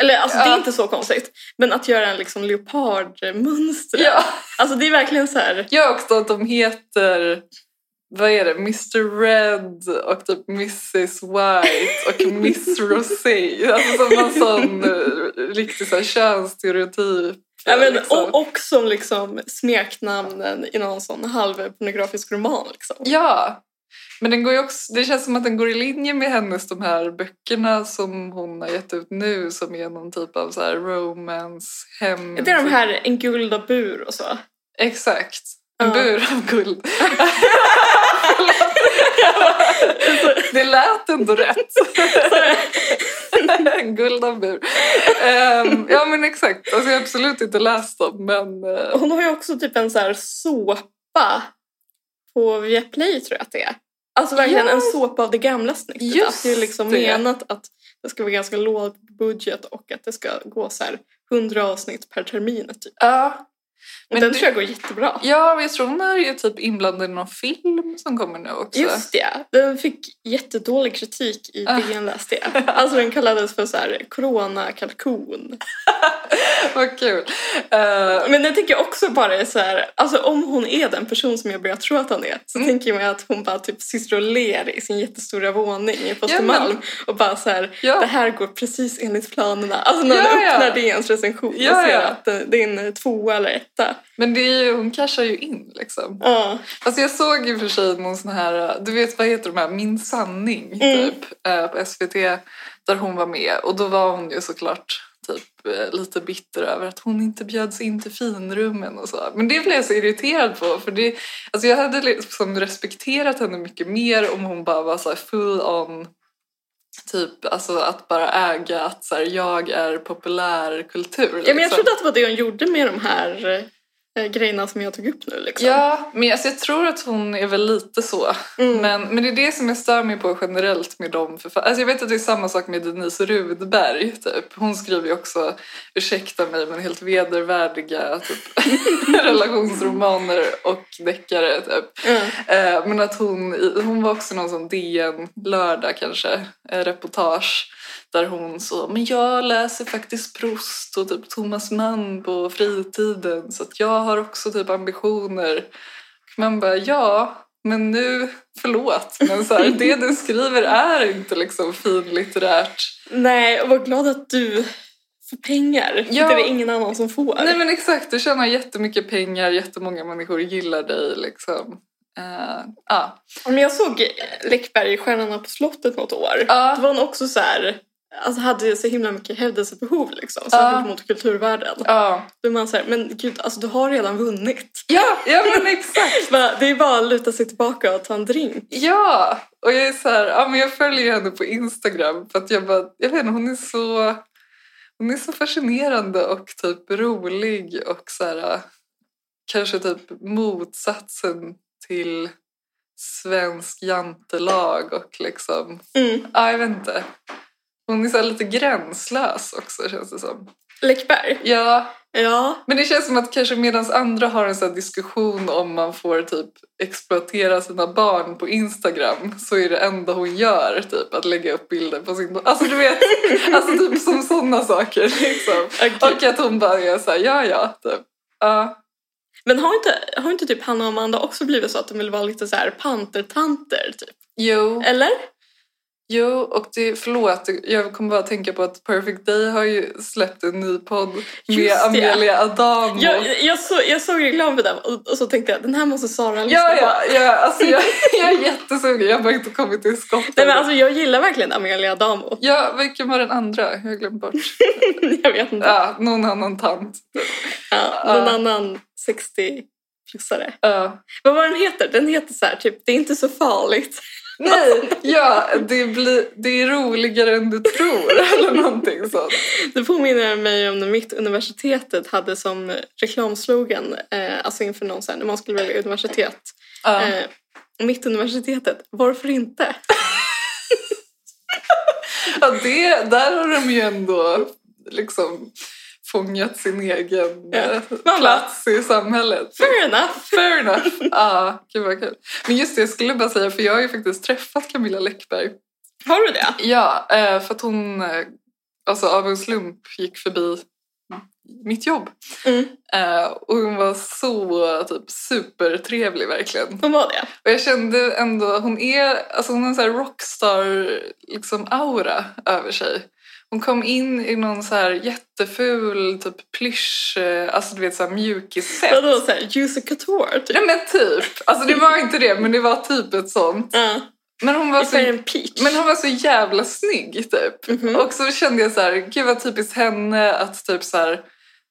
Speaker 1: eller alltså det är
Speaker 2: Ja.
Speaker 1: inte så konstigt, men att göra en liksom leopardmönster.
Speaker 2: Ja,
Speaker 1: Alltså det är verkligen så här,
Speaker 2: jag också att de heter vad är det? Mr Red och typ Mrs White och Miss Rosé. Alltså som någon sån eh, riktig så här könsstereotyp.
Speaker 1: ja, men,
Speaker 2: liksom.
Speaker 1: och, och som liksom smeknamnen i någon sån halvpornografisk roman. Liksom.
Speaker 2: Ja, Men den går ju också, det känns som att den går i linje med hennes de här böckerna som hon har gett ut nu som är någon typ av så här romance, hem...
Speaker 1: Det är de här En guld och bur och så.
Speaker 2: Exakt. En
Speaker 1: Ja.
Speaker 2: bur av guld. det lät ändå rätt. En guld av bur. Ehm, ja men exakt. Alltså, jag har absolut inte läst dem men eh,
Speaker 1: Hon har ju också typ en så här såpa på Viaplay tror jag att det är. Alltså verkligen
Speaker 2: Ja.
Speaker 1: en såpa av det gamla snittet.
Speaker 2: Just
Speaker 1: att det är liksom
Speaker 2: det.
Speaker 1: menat att det ska vara ganska låg budget och att det ska gå så här 100 avsnitt per termin. Typ.
Speaker 2: ja.
Speaker 1: Men
Speaker 2: Men
Speaker 1: den
Speaker 2: det-
Speaker 1: tror jag går jättebra.
Speaker 2: Ja, men jag tror hon är ju typ inblandad i någon film som kommer nu också.
Speaker 1: Just det, den fick jättedålig kritik i
Speaker 2: Ah.
Speaker 1: DN läste jag. Alltså den kallades för så här coronakalkon.
Speaker 2: Vad kul. Eh,
Speaker 1: Men jag tänker också bara är så här, alltså om hon är den person som jag börjar tro att hon är så
Speaker 2: Mm.
Speaker 1: tänker jag mig att hon bara typ sitter och ler i sin jättestora våning i på
Speaker 2: Ja, men-
Speaker 1: Östermalm och bara så här,
Speaker 2: Ja.
Speaker 1: det här går precis enligt planerna. Alltså när
Speaker 2: Ja,
Speaker 1: man
Speaker 2: ja.
Speaker 1: öppnar DNs recension
Speaker 2: Ja,
Speaker 1: och ser
Speaker 2: ja.
Speaker 1: att det det är en eh, tvåa eller etta.
Speaker 2: men det är ju, hon cashar ju in liksom.
Speaker 1: Ja,
Speaker 2: Alltså jag såg i och för sig någon sån här, du vet vad heter de här, Min sanning
Speaker 1: Mm.
Speaker 2: typ eh, på SVT där hon var med och då var hon ju såklart typ eh, lite bitter över att hon inte bjöds in till finrummen och så. Men det blev jag så irriterad på för det, alltså jag hade liksom respekterat henne mycket mer om hon bara var så här full on Typ alltså att bara äga att så här, jag är populärkultur.
Speaker 1: ja men jag
Speaker 2: liksom.
Speaker 1: trodde att det var det hon gjorde med de här eh, grejerna som jag tog upp nu liksom.
Speaker 2: Ja, men alltså, jag tror att hon är väl lite så.
Speaker 1: Mm.
Speaker 2: Men, men det är det som jag stör mig på generellt med dem. För, alltså jag vet att det är samma sak med Denise Rudberg. Typ. Hon skriver ju också, ursäkta mig, men helt vedervärdiga typ, relationsromaner och deckare. Typ.
Speaker 1: Mm.
Speaker 2: Eh, men att hon, hon var också någon sån DN lördag kanske, eh, reportage där hon så, men jag läser faktiskt Proust och typ Thomas Mann på fritiden så att jag har också typ ambitioner. Och man bara, ja, men nu, förlåt, men så här, det du skriver är inte liksom finlitterärt.
Speaker 1: Nej, och var glad att du får pengar.
Speaker 2: Ja.
Speaker 1: Det är det ingen annan som får.
Speaker 2: Nej men exakt, du tjänar jättemycket pengar, jättemånga människor gillar dig liksom. Eh, ah.
Speaker 1: Men jag såg Läckberg i Stjärnorna på slottet något år.
Speaker 2: Ja.
Speaker 1: Då var hon också så här, alltså hade så himla mycket hävdelsebehov liksom. Särskilt mot kulturvärlden.
Speaker 2: Ah.
Speaker 1: Då är man så här, men gud, alltså du har redan vunnit.
Speaker 2: Ja, ja men exakt.
Speaker 1: Bara- Det är bara att luta sig tillbaka och ta en drink.
Speaker 2: Ja, och jag är så här, ja, men jag följer ju henne på Instagram för att jag bara, jag vet inte, hon är så, hon är så fascinerande och typ rolig och så här, kanske typ motsatsen till svensk jantelag och liksom,
Speaker 1: Mm.
Speaker 2: ja jag vet inte. Hon är så här lite gränslös också känns det som.
Speaker 1: Läckberg?
Speaker 2: Ja,
Speaker 1: Ja.
Speaker 2: men det känns som att kanske medan andra har en sån här diskussion om man får typ exploatera sina barn på Instagram så är det enda hon gör typ att lägga upp bilder på sin... Alltså du vet, alltså typ som sådana saker liksom.
Speaker 1: Okej.
Speaker 2: Och att hon bara är såhär, ja ja, typ. Ja.
Speaker 1: Men har inte, har inte typ Hanna och Amanda också blivit så att de vill vara lite så här pantertanter typ?
Speaker 2: Jo.
Speaker 1: Eller?
Speaker 2: Jo, och det, förlåt, jag kommer bara att tänka på att Perfect Day har ju släppt en ny podd med
Speaker 1: Just det.
Speaker 2: Amelia Adamo.
Speaker 1: Jag, jag, så, jag såg reklam för den och, och så tänkte jag den här måste Sara lyssna
Speaker 2: Ja,
Speaker 1: på.
Speaker 2: ja, ja, alltså jag, jag är jättesugen. Jag har bara inte kommit till skott.
Speaker 1: Nej,
Speaker 2: än.
Speaker 1: men alltså, jag gillar verkligen Amelia Adamo.
Speaker 2: Ja, vilken var den andra? Jag har glömt bort.
Speaker 1: jag vet inte.
Speaker 2: Ja, någon annan tant.
Speaker 1: Ja, någon
Speaker 2: Ja.
Speaker 1: annan 60-plussare.
Speaker 2: Ja.
Speaker 1: Vad var den heter? Den heter så här typ, det är inte så farligt.
Speaker 2: Nej, ja, det, blir, det är roligare än du tror. Eller någonting sånt.
Speaker 1: Det påminner mig om när mitt universitetet hade som reklamslogan, eh, alltså inför någon så här, när man skulle välja universitet.
Speaker 2: Ja.
Speaker 1: Eh, mitt universitetet, varför inte?
Speaker 2: Ja, det, där har de ju ändå liksom fångat sin egen
Speaker 1: Ja.
Speaker 2: eh,
Speaker 1: bara-
Speaker 2: plats i samhället.
Speaker 1: Fair enough!
Speaker 2: Fair enough! Ja, gud vad kul. Men just det, jag skulle bara säga, för jag har ju faktiskt träffat Camilla Läckberg.
Speaker 1: Har du det?
Speaker 2: Ja, eh, för att hon eh, alltså, av en slump gick förbi mitt jobb.
Speaker 1: Mm.
Speaker 2: Eh, Och hon var så typ supertrevlig verkligen.
Speaker 1: Vad var det?
Speaker 2: Och jag kände ändå, hon är, alltså hon har en sån här rockstar liksom aura över sig. Hon kom in i någon så här jätteful typ plysch, eh, alltså du vet så här mjukisset.
Speaker 1: Vadå såhär, juicy couture typ?
Speaker 2: Nej men typ, alltså det var inte det men det var typ ett sånt.
Speaker 1: Ja,
Speaker 2: Men hon var
Speaker 1: i
Speaker 2: så,
Speaker 1: färgen peach.
Speaker 2: men hon var så jävla snygg typ.
Speaker 1: Mhm.
Speaker 2: Och så kände jag så här, gud vad typiskt henne att typ så här,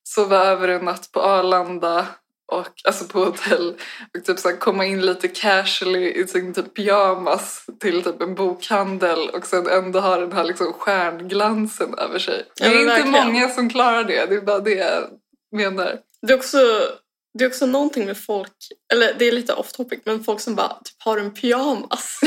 Speaker 2: sova över en natt på Arlanda och alltså på hotell och typ så här, komma in lite casually i sin typ pyjamas till typ en bokhandel och sen ändå ha den här liksom stjärnglansen över sig. Det
Speaker 1: Ja,
Speaker 2: är
Speaker 1: men
Speaker 2: inte
Speaker 1: verkligen.
Speaker 2: många som klarar det, det är bara det jag menar.
Speaker 1: Det är också, det är också någonting med folk, eller det är lite off topic, men folk som bara typ har en pyjamas.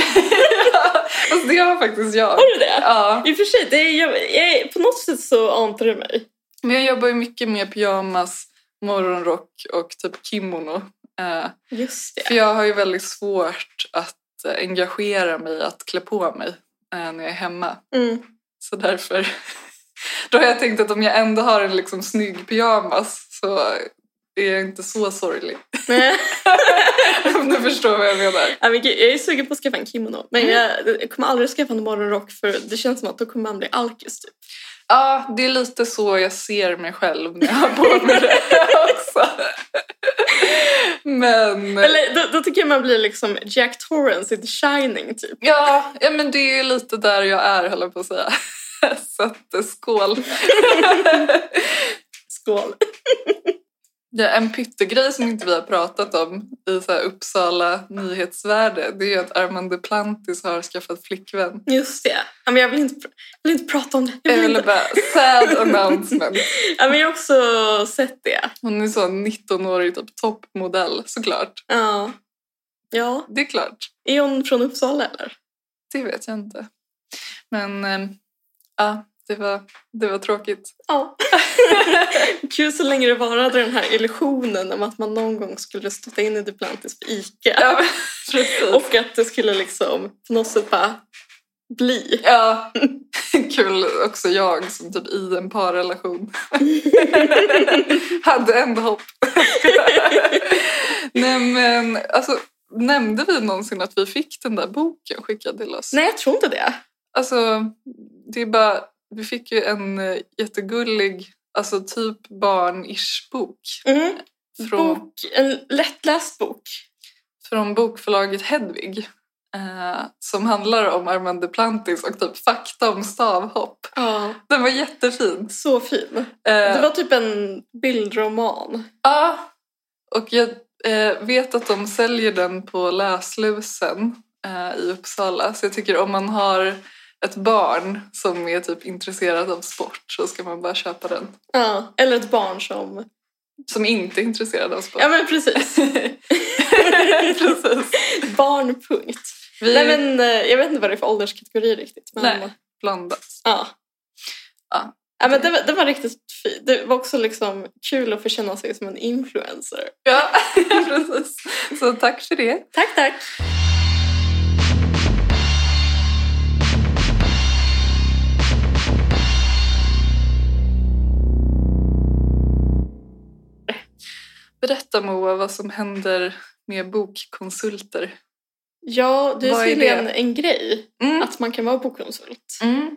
Speaker 2: alltså det har faktiskt jag.
Speaker 1: Har du det?
Speaker 2: Ja.
Speaker 1: I och för sig, det är, jag, jag, på något sätt så ante det mig.
Speaker 2: Men jag jobbar ju mycket med pyjamas, morgonrock och typ kimono. Eh,
Speaker 1: Just det.
Speaker 2: För jag har ju väldigt svårt att eh, engagera mig, att klä på mig eh, när jag är hemma.
Speaker 1: Mm.
Speaker 2: Så därför... Då har jag tänkt att om jag ändå har en liksom snygg pyjamas så är jag inte så sorglig.
Speaker 1: Nej,
Speaker 2: Om du förstår vad jag menar.
Speaker 1: men gud, jag är sugen på att skaffa en kimono, men jag, jag kommer aldrig skaffa en morgonrock för det känns som att då kommer man bli alkis typ.
Speaker 2: Ja, det är lite så jag ser mig själv när jag har på mig det också. Men...
Speaker 1: Eller då, då tycker jag man blir liksom Jack Torrance i The Shining typ.
Speaker 2: Ja, ja, men det är lite där jag är höll jag på att säga. Så att, eh, skål!
Speaker 1: Skål.
Speaker 2: Ja, en pyttegrej som inte vi har pratat om i så här Uppsala nyhetsvärde det är ju att Armand Duplantis har skaffat flickvän.
Speaker 1: Just det. Ja, men jag vill inte, jag vill inte prata om det. Jag
Speaker 2: Jag
Speaker 1: vill
Speaker 2: ville
Speaker 1: inte.
Speaker 2: bara, sad announcement.
Speaker 1: Ja, men jag har också sett det.
Speaker 2: Hon är så 19-årig typ toppmodell såklart.
Speaker 1: Ja. ja.
Speaker 2: Det är klart,
Speaker 1: Är hon från Uppsala eller?
Speaker 2: det vet jag inte. Men eh, ja, det var, det var tråkigt.
Speaker 1: Ja. Kul så länge det varade den här illusionen om att man någon gång skulle stöta in i Duplantis på Ica.
Speaker 2: Ja, men, precis.
Speaker 1: Och att det skulle liksom på något sätt bara bli.
Speaker 2: Ja, kul också jag som typ i en parrelation. Hade ändå hopp. Nej men alltså, nämnde vi någonsin att vi fick den där boken skickad till oss?
Speaker 1: Nej, jag tror inte det.
Speaker 2: Alltså, det är bara, vi fick ju en eh, jättegullig, alltså typ barn-ish bok.
Speaker 1: Mm.
Speaker 2: Från,
Speaker 1: Bok, en lättläst bok.
Speaker 2: från bokförlaget Hedvig. Eh, som handlar om Armand Duplantis och typ fakta om stavhopp.
Speaker 1: Ja.
Speaker 2: Den var jättefin.
Speaker 1: Så fin.
Speaker 2: Eh,
Speaker 1: Det var typ en bildroman.
Speaker 2: Ja, och jag eh, vet att de säljer den på Läslusen eh, i Uppsala. Så jag tycker om man har ett barn som är typ intresserad av sport så ska man bara köpa den.
Speaker 1: Ja. Eller ett barn som...
Speaker 2: Som inte är intresserad av sport.
Speaker 1: Ja, men precis.
Speaker 2: Precis.
Speaker 1: Barnpunkt.
Speaker 2: Vi
Speaker 1: Nej, men eh, jag vet inte vad det är för ålderskategori riktigt. Men,
Speaker 2: Nej. blandas.
Speaker 1: Ja.
Speaker 2: Ja.
Speaker 1: Ja, men det, var, det var riktigt fint. Det var också liksom kul att få känna sig som en influencer.
Speaker 2: Ja, precis. Så tack för det.
Speaker 1: Tack, tack!
Speaker 2: Berätta Moa vad som händer med bokkonsulter.
Speaker 1: Ja, det
Speaker 2: Vad
Speaker 1: är
Speaker 2: är
Speaker 1: tydligen
Speaker 2: det?
Speaker 1: en grej
Speaker 2: Mm.
Speaker 1: att man kan vara bokkonsult.
Speaker 2: Mm.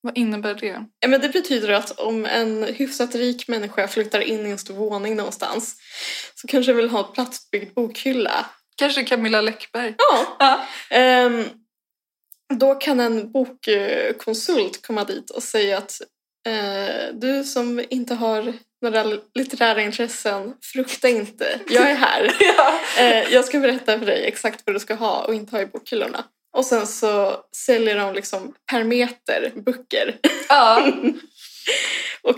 Speaker 2: Vad innebär det?
Speaker 1: Ja, men det betyder att om en hyfsat rik människa flyttar in i en stor våning någonstans så kanske vill ha en platsbyggd bokhylla.
Speaker 2: Kanske Camilla Läckberg?
Speaker 1: Ja,
Speaker 2: Ja.
Speaker 1: Ehm, då kan en bokkonsult komma dit och säga att eh, du som inte har några litterära intressen, frukta inte, jag är här.
Speaker 2: ja.
Speaker 1: Eh, jag ska berätta för dig exakt vad du ska ha och inte ha i bokhyllorna. Och sen så säljer de liksom per meter böcker.
Speaker 2: ja.
Speaker 1: Och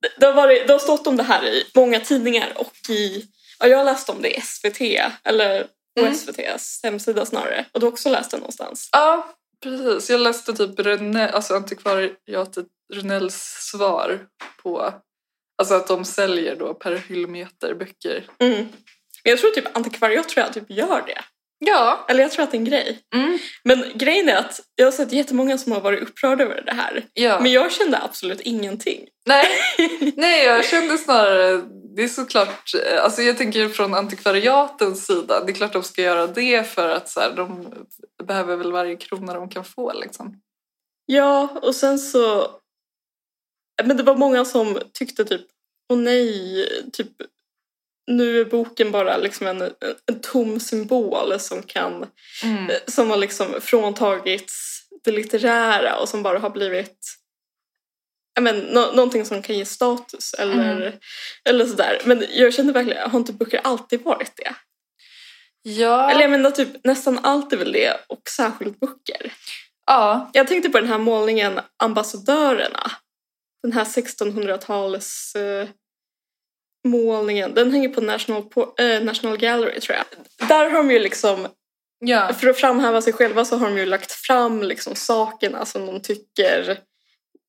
Speaker 1: det- det har, varit, det har stått om det här i många tidningar och i... Ja, jag har läst om det i SVT, eller på
Speaker 2: Mm.
Speaker 1: SVTs hemsida snarare. Och du har också läst det någonstans.
Speaker 2: Ja, precis. Jag läste typ Rene, alltså antikvariatet Runells svar på... Alltså att de säljer då per hyllmeter böcker.
Speaker 1: Mm. Men jag tror typ antikvariat tror jag typ gör det.
Speaker 2: Ja.
Speaker 1: Eller jag tror att det är en grej.
Speaker 2: Mm.
Speaker 1: Men grejen är att jag har sett jättemånga som har varit upprörda över det här.
Speaker 2: ja.
Speaker 1: Men jag kände absolut ingenting.
Speaker 2: Nej. Nej, jag kände snarare... Det är såklart... Alltså jag tänker från antikvariatens sida. Det är klart de ska göra det för att så här, de behöver väl varje krona de kan få liksom.
Speaker 1: Ja, och sen så Men det var många som tyckte typ, åh nej, typ nu är boken bara liksom en, en tom symbol som kan
Speaker 2: Mm.
Speaker 1: som har liksom fråntagits det litterära och som bara har blivit ja, men, nå- någonting som kan ge status eller, eller sådär. Men jag känner verkligen, har inte böcker alltid varit det?
Speaker 2: Ja.
Speaker 1: Eller jag menar typ nästan allt är väl det och särskilt böcker.
Speaker 2: ja.
Speaker 1: Jag tänkte på den här målningen Ambassadörerna. Den här 1600-tals eh, målningen. Den hänger på National, Po- eh, National Gallery tror jag. Där har de ju liksom
Speaker 2: ja.
Speaker 1: för att framhäva sig själva så har de ju lagt fram liksom sakerna som de tycker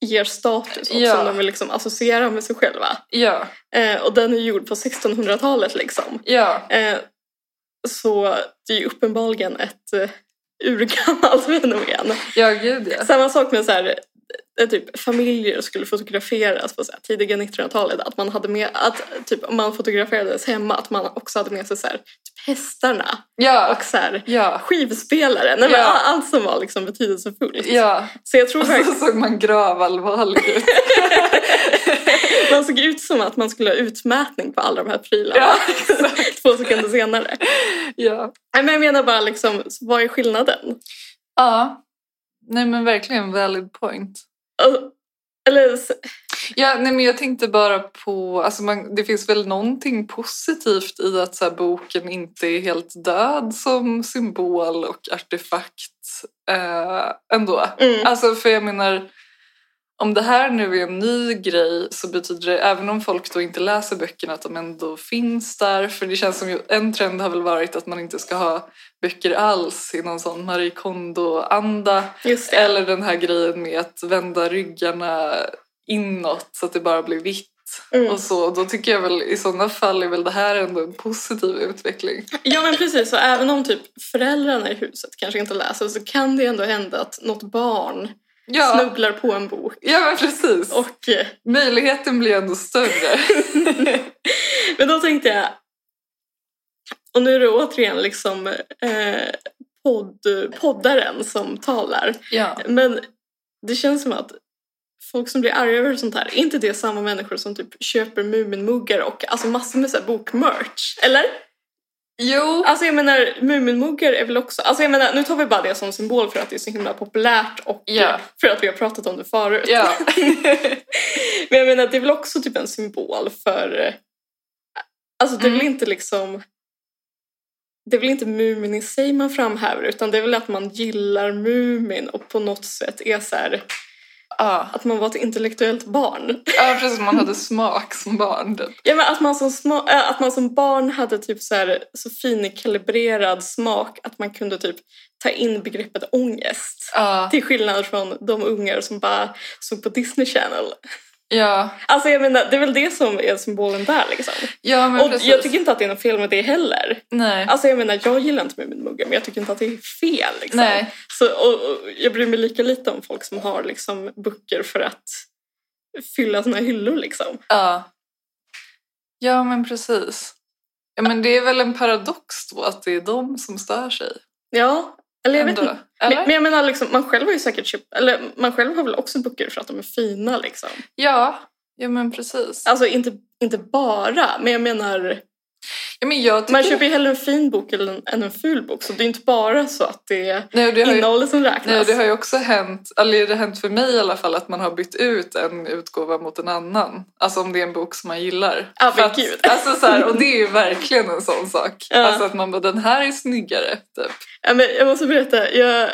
Speaker 1: ger status och
Speaker 2: Ja.
Speaker 1: som de vill liksom associera med sig själva.
Speaker 2: Ja.
Speaker 1: Eh, och den är gjord på 1600-talet liksom.
Speaker 2: Ja.
Speaker 1: Eh, så det är ju uppenbarligen ett eh, urgammalt fenomen.
Speaker 2: Ja, gud ja.
Speaker 1: Samma sak med så här, eh, typ familjer skulle fotograferas på så här, tidiga 1900-talet. Att man hade med, att typ om man fotograferades hemma, att man också hade med sig så här, typ hästarna
Speaker 2: Ja.
Speaker 1: och så här,
Speaker 2: Ja.
Speaker 1: skivspelare. Nej, men
Speaker 2: Ja.
Speaker 1: all- Allt som var liksom betydelsefullt.
Speaker 2: Ja.
Speaker 1: Så jag tror
Speaker 2: Och så
Speaker 1: verkligen
Speaker 2: såg man gravallvarlig ut.
Speaker 1: man såg ut som att man skulle ha utmätning på alla de här prylarna
Speaker 2: Ja,
Speaker 1: två sekunder senare.
Speaker 2: Ja.
Speaker 1: Nej, men jag menar bara liksom, så vad är skillnaden?
Speaker 2: Ja. Nej men verkligen valid point.
Speaker 1: Alltså, Eller, s-
Speaker 2: Ja, nej men jag tänkte bara på, alltså man, det finns väl någonting positivt i att så här, boken inte är helt död som symbol och artefakt eh, ändå.
Speaker 1: mm,
Speaker 2: Alltså för jag menar, om det här nu är en ny grej så betyder det, även om folk då inte läser böckerna, att de ändå finns där. För det känns som ju, en trend har väl varit att man inte ska ha böcker alls i någon sån Marie Kondo-anda.
Speaker 1: just det.
Speaker 2: Eller den här grejen med att vända ryggarna inåt så att det bara blir vitt.
Speaker 1: Mm.
Speaker 2: Och så, då tycker jag väl i sådana fall är väl det här ändå en positiv utveckling.
Speaker 1: Ja men precis, så även om typ föräldrarna i huset kanske inte läser så kan det ändå hända att något barn
Speaker 2: Ja,
Speaker 1: snubblar på en bok.
Speaker 2: ja men precis.
Speaker 1: Och, eh,
Speaker 2: Möjligheten blir ändå större.
Speaker 1: men då tänkte jag, och nu är det återigen liksom eh, podd, poddaren som talar.
Speaker 2: ja.
Speaker 1: Men det känns som att folk som blir arga över sånt här, är inte det samma människor som typ köper Muminmuggar och alltså massor med så här bokmerch? Eller?
Speaker 2: Jo,
Speaker 1: Alltså jag menar, Muminmuggar är väl också, alltså jag menar, nu tar vi bara det som symbol för att det är så himla populärt och
Speaker 2: Ja.
Speaker 1: eh, för att vi har pratat om det förut.
Speaker 2: Ja.
Speaker 1: Men jag menar, det är väl också typ en symbol för, eh, alltså det är
Speaker 2: Mm.
Speaker 1: väl inte liksom det är väl inte Mumin i sig man framhäver utan det är väl att man gillar Mumin och på något sätt är så här,
Speaker 2: Ja,
Speaker 1: att man var ett intellektuellt barn.
Speaker 2: ja precis. Man hade smak som barn. Typ.
Speaker 1: Ja, men att, man som små, äh, att man som barn hade typ så, här, så finkalibrerad smak att man kunde typ ta in begreppet ångest.
Speaker 2: Ja,
Speaker 1: Till skillnad från de ungar som bara såg på Disney Channel.
Speaker 2: ja,
Speaker 1: Alltså jag menar, det är väl det som är symbolen där liksom.
Speaker 2: ja men
Speaker 1: Och
Speaker 2: precis.
Speaker 1: jag tycker inte att det är något fel med det heller.
Speaker 2: Nej.
Speaker 1: Alltså jag menar, jag gillar inte Muminmuggen men jag tycker inte att det är fel liksom.
Speaker 2: Nej.
Speaker 1: Så, och, och jag bryr mig lika lite om folk som har liksom böcker för att fylla sina hyllor liksom.
Speaker 2: Ja. ja, men precis. Ja, men det är väl en paradox då att det är de som stör sig.
Speaker 1: Ja, eller jag vet
Speaker 2: Ändå.
Speaker 1: inte. Men,
Speaker 2: Eller?
Speaker 1: men jag menar, liksom, man själv har ju säkert köpt, eller man själv har väl också böcker för att de är fina liksom.
Speaker 2: Ja, ja men precis.
Speaker 1: Alltså inte, inte bara, men jag menar,
Speaker 2: Ja, men jag tycker...
Speaker 1: man köper ju hellre en fin bok än en, än en ful bok så det är inte bara så att det är
Speaker 2: Nej, och det har ju...
Speaker 1: innehållet som räknas.
Speaker 2: Nej, det har ju också hänt, eller det har hänt för mig i alla fall, att man har bytt ut en utgåva mot en annan. Alltså om det är en bok som man gillar.
Speaker 1: Ja, men
Speaker 2: För att-
Speaker 1: gud.
Speaker 2: Alltså, så här, och det är ju verkligen en sån sak.
Speaker 1: Ja.
Speaker 2: Alltså att man bara, den här är snyggare. Typ.
Speaker 1: Ja, men jag måste berätta, jag eh,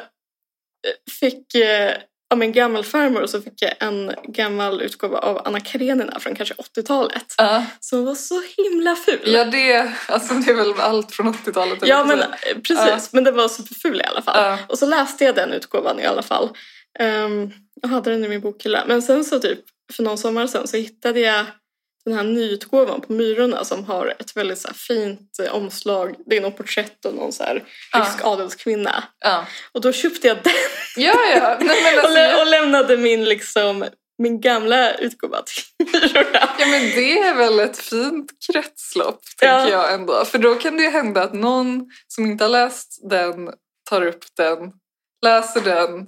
Speaker 1: fick eh, av min gammal farmor så fick jag en gammal utgåva av Anna Karenina från kanske 80-talet.
Speaker 2: Ja.
Speaker 1: Som var så himla ful.
Speaker 2: Ja, det, alltså, det är väl allt från 80-talet. eller
Speaker 1: Ja,
Speaker 2: vad man
Speaker 1: men
Speaker 2: säger.
Speaker 1: eh, precis. Men den var superful i alla fall.
Speaker 2: Ja.
Speaker 1: Och så läste jag den utgåvan i alla fall. Ehm, jag hade den i min bokhylla. Men sen så typ för någon sommar sen så hittade jag den här nyutgåvan på Myrorna som har ett väldigt så här, fint eh, omslag. Det är något porträtt och någon så här,
Speaker 2: Ja.
Speaker 1: rysk adelskvinna.
Speaker 2: Ja,
Speaker 1: Och då köpte jag den
Speaker 2: ja. ja. Nej, men,
Speaker 1: och,
Speaker 2: alltså,
Speaker 1: lä- och
Speaker 2: jag-
Speaker 1: lämnade min, liksom, min gamla utgåva till Myrorna.
Speaker 2: ja, men det är väl ett fint kretslopp, tänker jag ändå. För då kan det ju hända att någon som inte har läst den tar upp den, läser den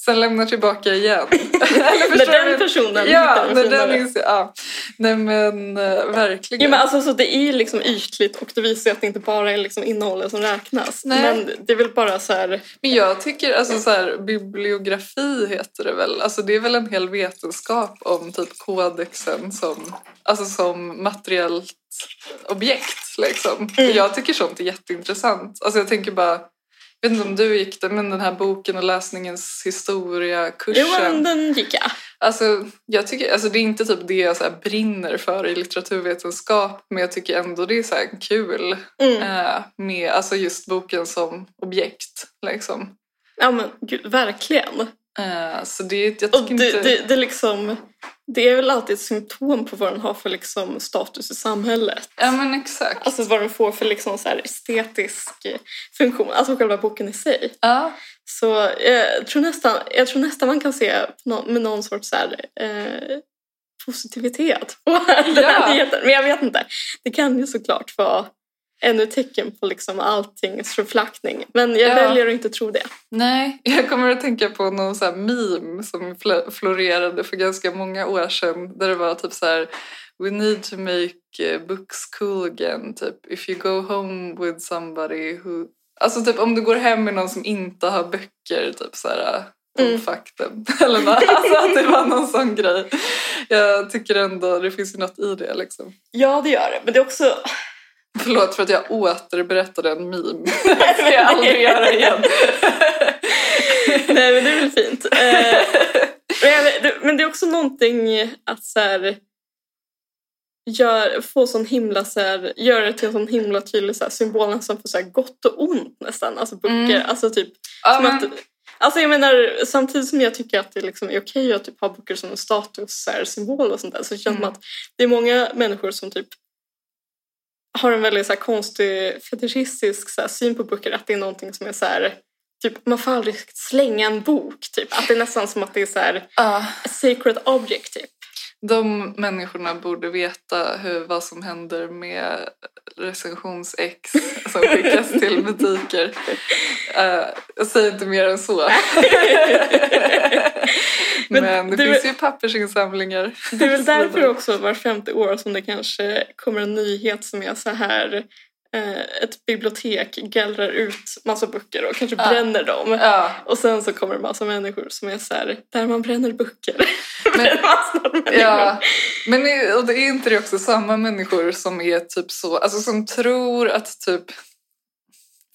Speaker 2: Sen lämnar tillbaka igen. Eller
Speaker 1: När
Speaker 2: förstår
Speaker 1: den
Speaker 2: du?
Speaker 1: personen
Speaker 2: Ja,
Speaker 1: hittar
Speaker 2: när
Speaker 1: en
Speaker 2: den
Speaker 1: finare.
Speaker 2: är så, ja. Nej men eh, verkligen.
Speaker 1: Jo, men alltså, så det är ju liksom ytligt och det visar ju att det inte bara är liksom innehållet som räknas.
Speaker 2: Nej.
Speaker 1: Men det är väl bara så här...
Speaker 2: Men jag tycker, alltså så här, bibliografi heter det väl? Alltså det är väl en hel vetenskap om typ kodexen som, alltså som materiellt objekt liksom.
Speaker 1: Mm.
Speaker 2: Jag tycker sånt är jätteintressant. Alltså jag tänker bara, jag vet inte om du gick det, men den här boken och läsningens
Speaker 1: Jo, men
Speaker 2: historia-kursen.
Speaker 1: den gick jag.
Speaker 2: Alltså, jag tycker, alltså det är inte typ det jag så här brinner för i litteraturvetenskap, men jag tycker ändå det är så här kul
Speaker 1: Mm.
Speaker 2: eh, med alltså just boken som objekt liksom.
Speaker 1: Ja, men gud, verkligen.
Speaker 2: Eh, Så det är, jag
Speaker 1: Och
Speaker 2: tycker
Speaker 1: det,
Speaker 2: inte...
Speaker 1: det, det, är liksom, det är väl alltid ett symptom på vad den har för liksom status i samhället.
Speaker 2: Ja men exakt.
Speaker 1: Alltså vad den får för liksom så här estetisk eh, funktion, alltså själva boken i sig.
Speaker 2: Ja,
Speaker 1: Så eh, jag tror nästan, jag tror nästan man kan se på nå- med någon sorts så här, eh, positivitet på den
Speaker 2: Ja.
Speaker 1: här nyheten. Men jag vet inte. Det kan ju såklart vara ännu ett tecken på liksom alltings förflackning. Men jag
Speaker 2: Ja.
Speaker 1: väljer att inte tro det.
Speaker 2: nej. Jag kommer att tänka på någon så här meme som fl- florerade för ganska många år sedan där det var typ så här We need to make eh, books cool again, typ if you go home with somebody who... Alltså typ om du går hem med någon som inte har böcker, typ så här eh,
Speaker 1: Mm.
Speaker 2: "Oh, fuck them. Eller vad, alltså att det var någon sån grej. Jag tycker ändå det finns ju något i det liksom.
Speaker 1: Ja, det gör det. Men det är också...
Speaker 2: Förlåt för att jag återberättade en meme. Det ska jag aldrig göra igen.
Speaker 1: Nej, men det är väl fint. Eh, men jag- det- men det är också någonting att så här, gör, få sån himla, så här, göra det till en sån himla tydlig så här, symbol nästan för så här, gott och ont nästan. Alltså böcker,
Speaker 2: Mm.
Speaker 1: alltså typ
Speaker 2: Ja,
Speaker 1: som
Speaker 2: men,
Speaker 1: att, alltså jag menar, samtidigt som jag tycker att det liksom är okej att typ ha böcker som en status, så här, symbol och sånt där, så känner man
Speaker 2: Mm.
Speaker 1: att det är många människor som typ har en väldigt så här, konstig fetischistisk så här, syn på böcker, att det är någonting som är så här, typ man får aldrig slänga en bok, typ. Att det är nästan som att det är så här,
Speaker 2: ja,
Speaker 1: a sacred object, typ.
Speaker 2: ah. de människorna borde veta hur, vad som händer med recensionsex som skickas till butiker. Eh, jag säger inte mer än så.
Speaker 1: Men
Speaker 2: men, det,
Speaker 1: du-
Speaker 2: finns ju pappersinsamlingar.
Speaker 1: Det är väl därför också var femte år som det kanske kommer en nyhet som är så här eh, ett bibliotek gallrar ut massa böcker och kanske
Speaker 2: Ja.
Speaker 1: bränner dem.
Speaker 2: Ja,
Speaker 1: Och sen så kommer det massa människor som är så här, där man bränner böcker.
Speaker 2: men,
Speaker 1: bränner massor av människor.
Speaker 2: Ja, men är- och det är inte det också samma människor som är typ så, alltså som tror att typ,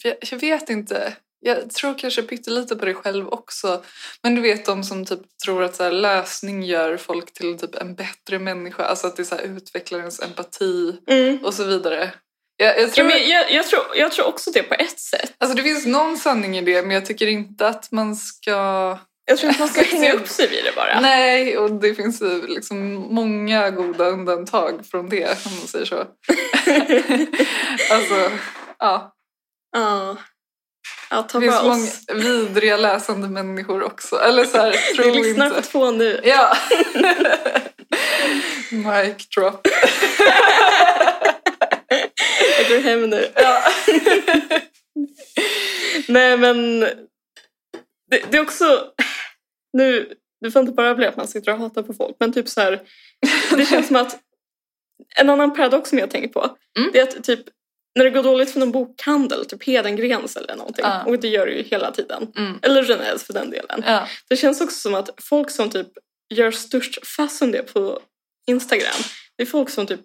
Speaker 2: för jag, jag vet inte, jag tror kanske pyttelite på det själv också, men du vet de som typ tror att så här, läsning gör folk till typ en bättre människa, alltså att det så här, utvecklar ens empati
Speaker 1: Mm.
Speaker 2: och så vidare. Jag, jag
Speaker 1: Ja,
Speaker 2: tror,
Speaker 1: men jag, jag, tror, jag tror också det på ett sätt.
Speaker 2: alltså det finns någon sanning i det, men jag tycker inte att man ska
Speaker 1: Jag tror inte man ska hänga upp sig vid det bara.
Speaker 2: Nej, och det finns ju liksom många goda undantag från det, om man säger så. alltså, ja.
Speaker 1: Ja. Ja, ta
Speaker 2: Det finns
Speaker 1: bara
Speaker 2: många
Speaker 1: oss.
Speaker 2: vidriga läsande människor också. Eller så här,
Speaker 1: Vi
Speaker 2: tro
Speaker 1: lyssnar på
Speaker 2: inte.
Speaker 1: två nu.
Speaker 2: Ja. Mic drop.
Speaker 1: Jag går hem nu.
Speaker 2: Ja.
Speaker 1: Nej men det, det är också, nu, det får inte bara bli att man sitter och hatar på folk men typ så här, det känns som att en annan paradox som jag tänker på
Speaker 2: Mm.
Speaker 1: det är att typ när det går dåligt för någon bokhandel, typ Hedengrens eller någonting,
Speaker 2: Ja.
Speaker 1: och det gör det ju hela tiden,
Speaker 2: Mm.
Speaker 1: eller Genève för den delen.
Speaker 2: Ja.
Speaker 1: Det känns också som att folk som typ gör störst fass om det på Instagram, det är folk som typ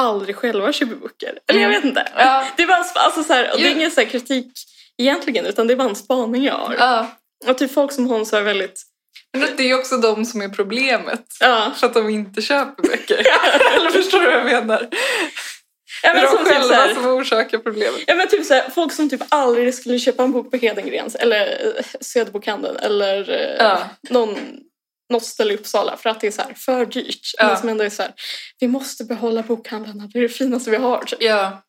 Speaker 1: aldrig själva köper böcker. Eller jag
Speaker 2: Mm.
Speaker 1: vet inte.
Speaker 2: Ja.
Speaker 1: Det är bara en sp- alltså så här, och det är
Speaker 2: Jo.
Speaker 1: ingen så här kritik egentligen utan det är bara en spaning jag har.
Speaker 2: ja.
Speaker 1: Och typ folk som hon så är väldigt...
Speaker 2: Men det är ju också de som är problemet.
Speaker 1: Ja.
Speaker 2: För att de inte köper böcker. Eller förstår du vad jag menar?
Speaker 1: Ja,
Speaker 2: Det
Speaker 1: men
Speaker 2: är de
Speaker 1: som typ så
Speaker 2: själva
Speaker 1: här,
Speaker 2: som orsakar problemet.
Speaker 1: ja, men typ så här, folk som typ aldrig skulle köpa en bok på Hedengrens eller eh, Söderbokhandeln eller eh,
Speaker 2: Ja.
Speaker 1: någon, något ställe i Uppsala för att det är så här, för dyrt.
Speaker 2: Ja.
Speaker 1: Men som ändå är så här, vi måste behålla bokhandlarna, det är det finaste vi har. typ.
Speaker 2: Ja.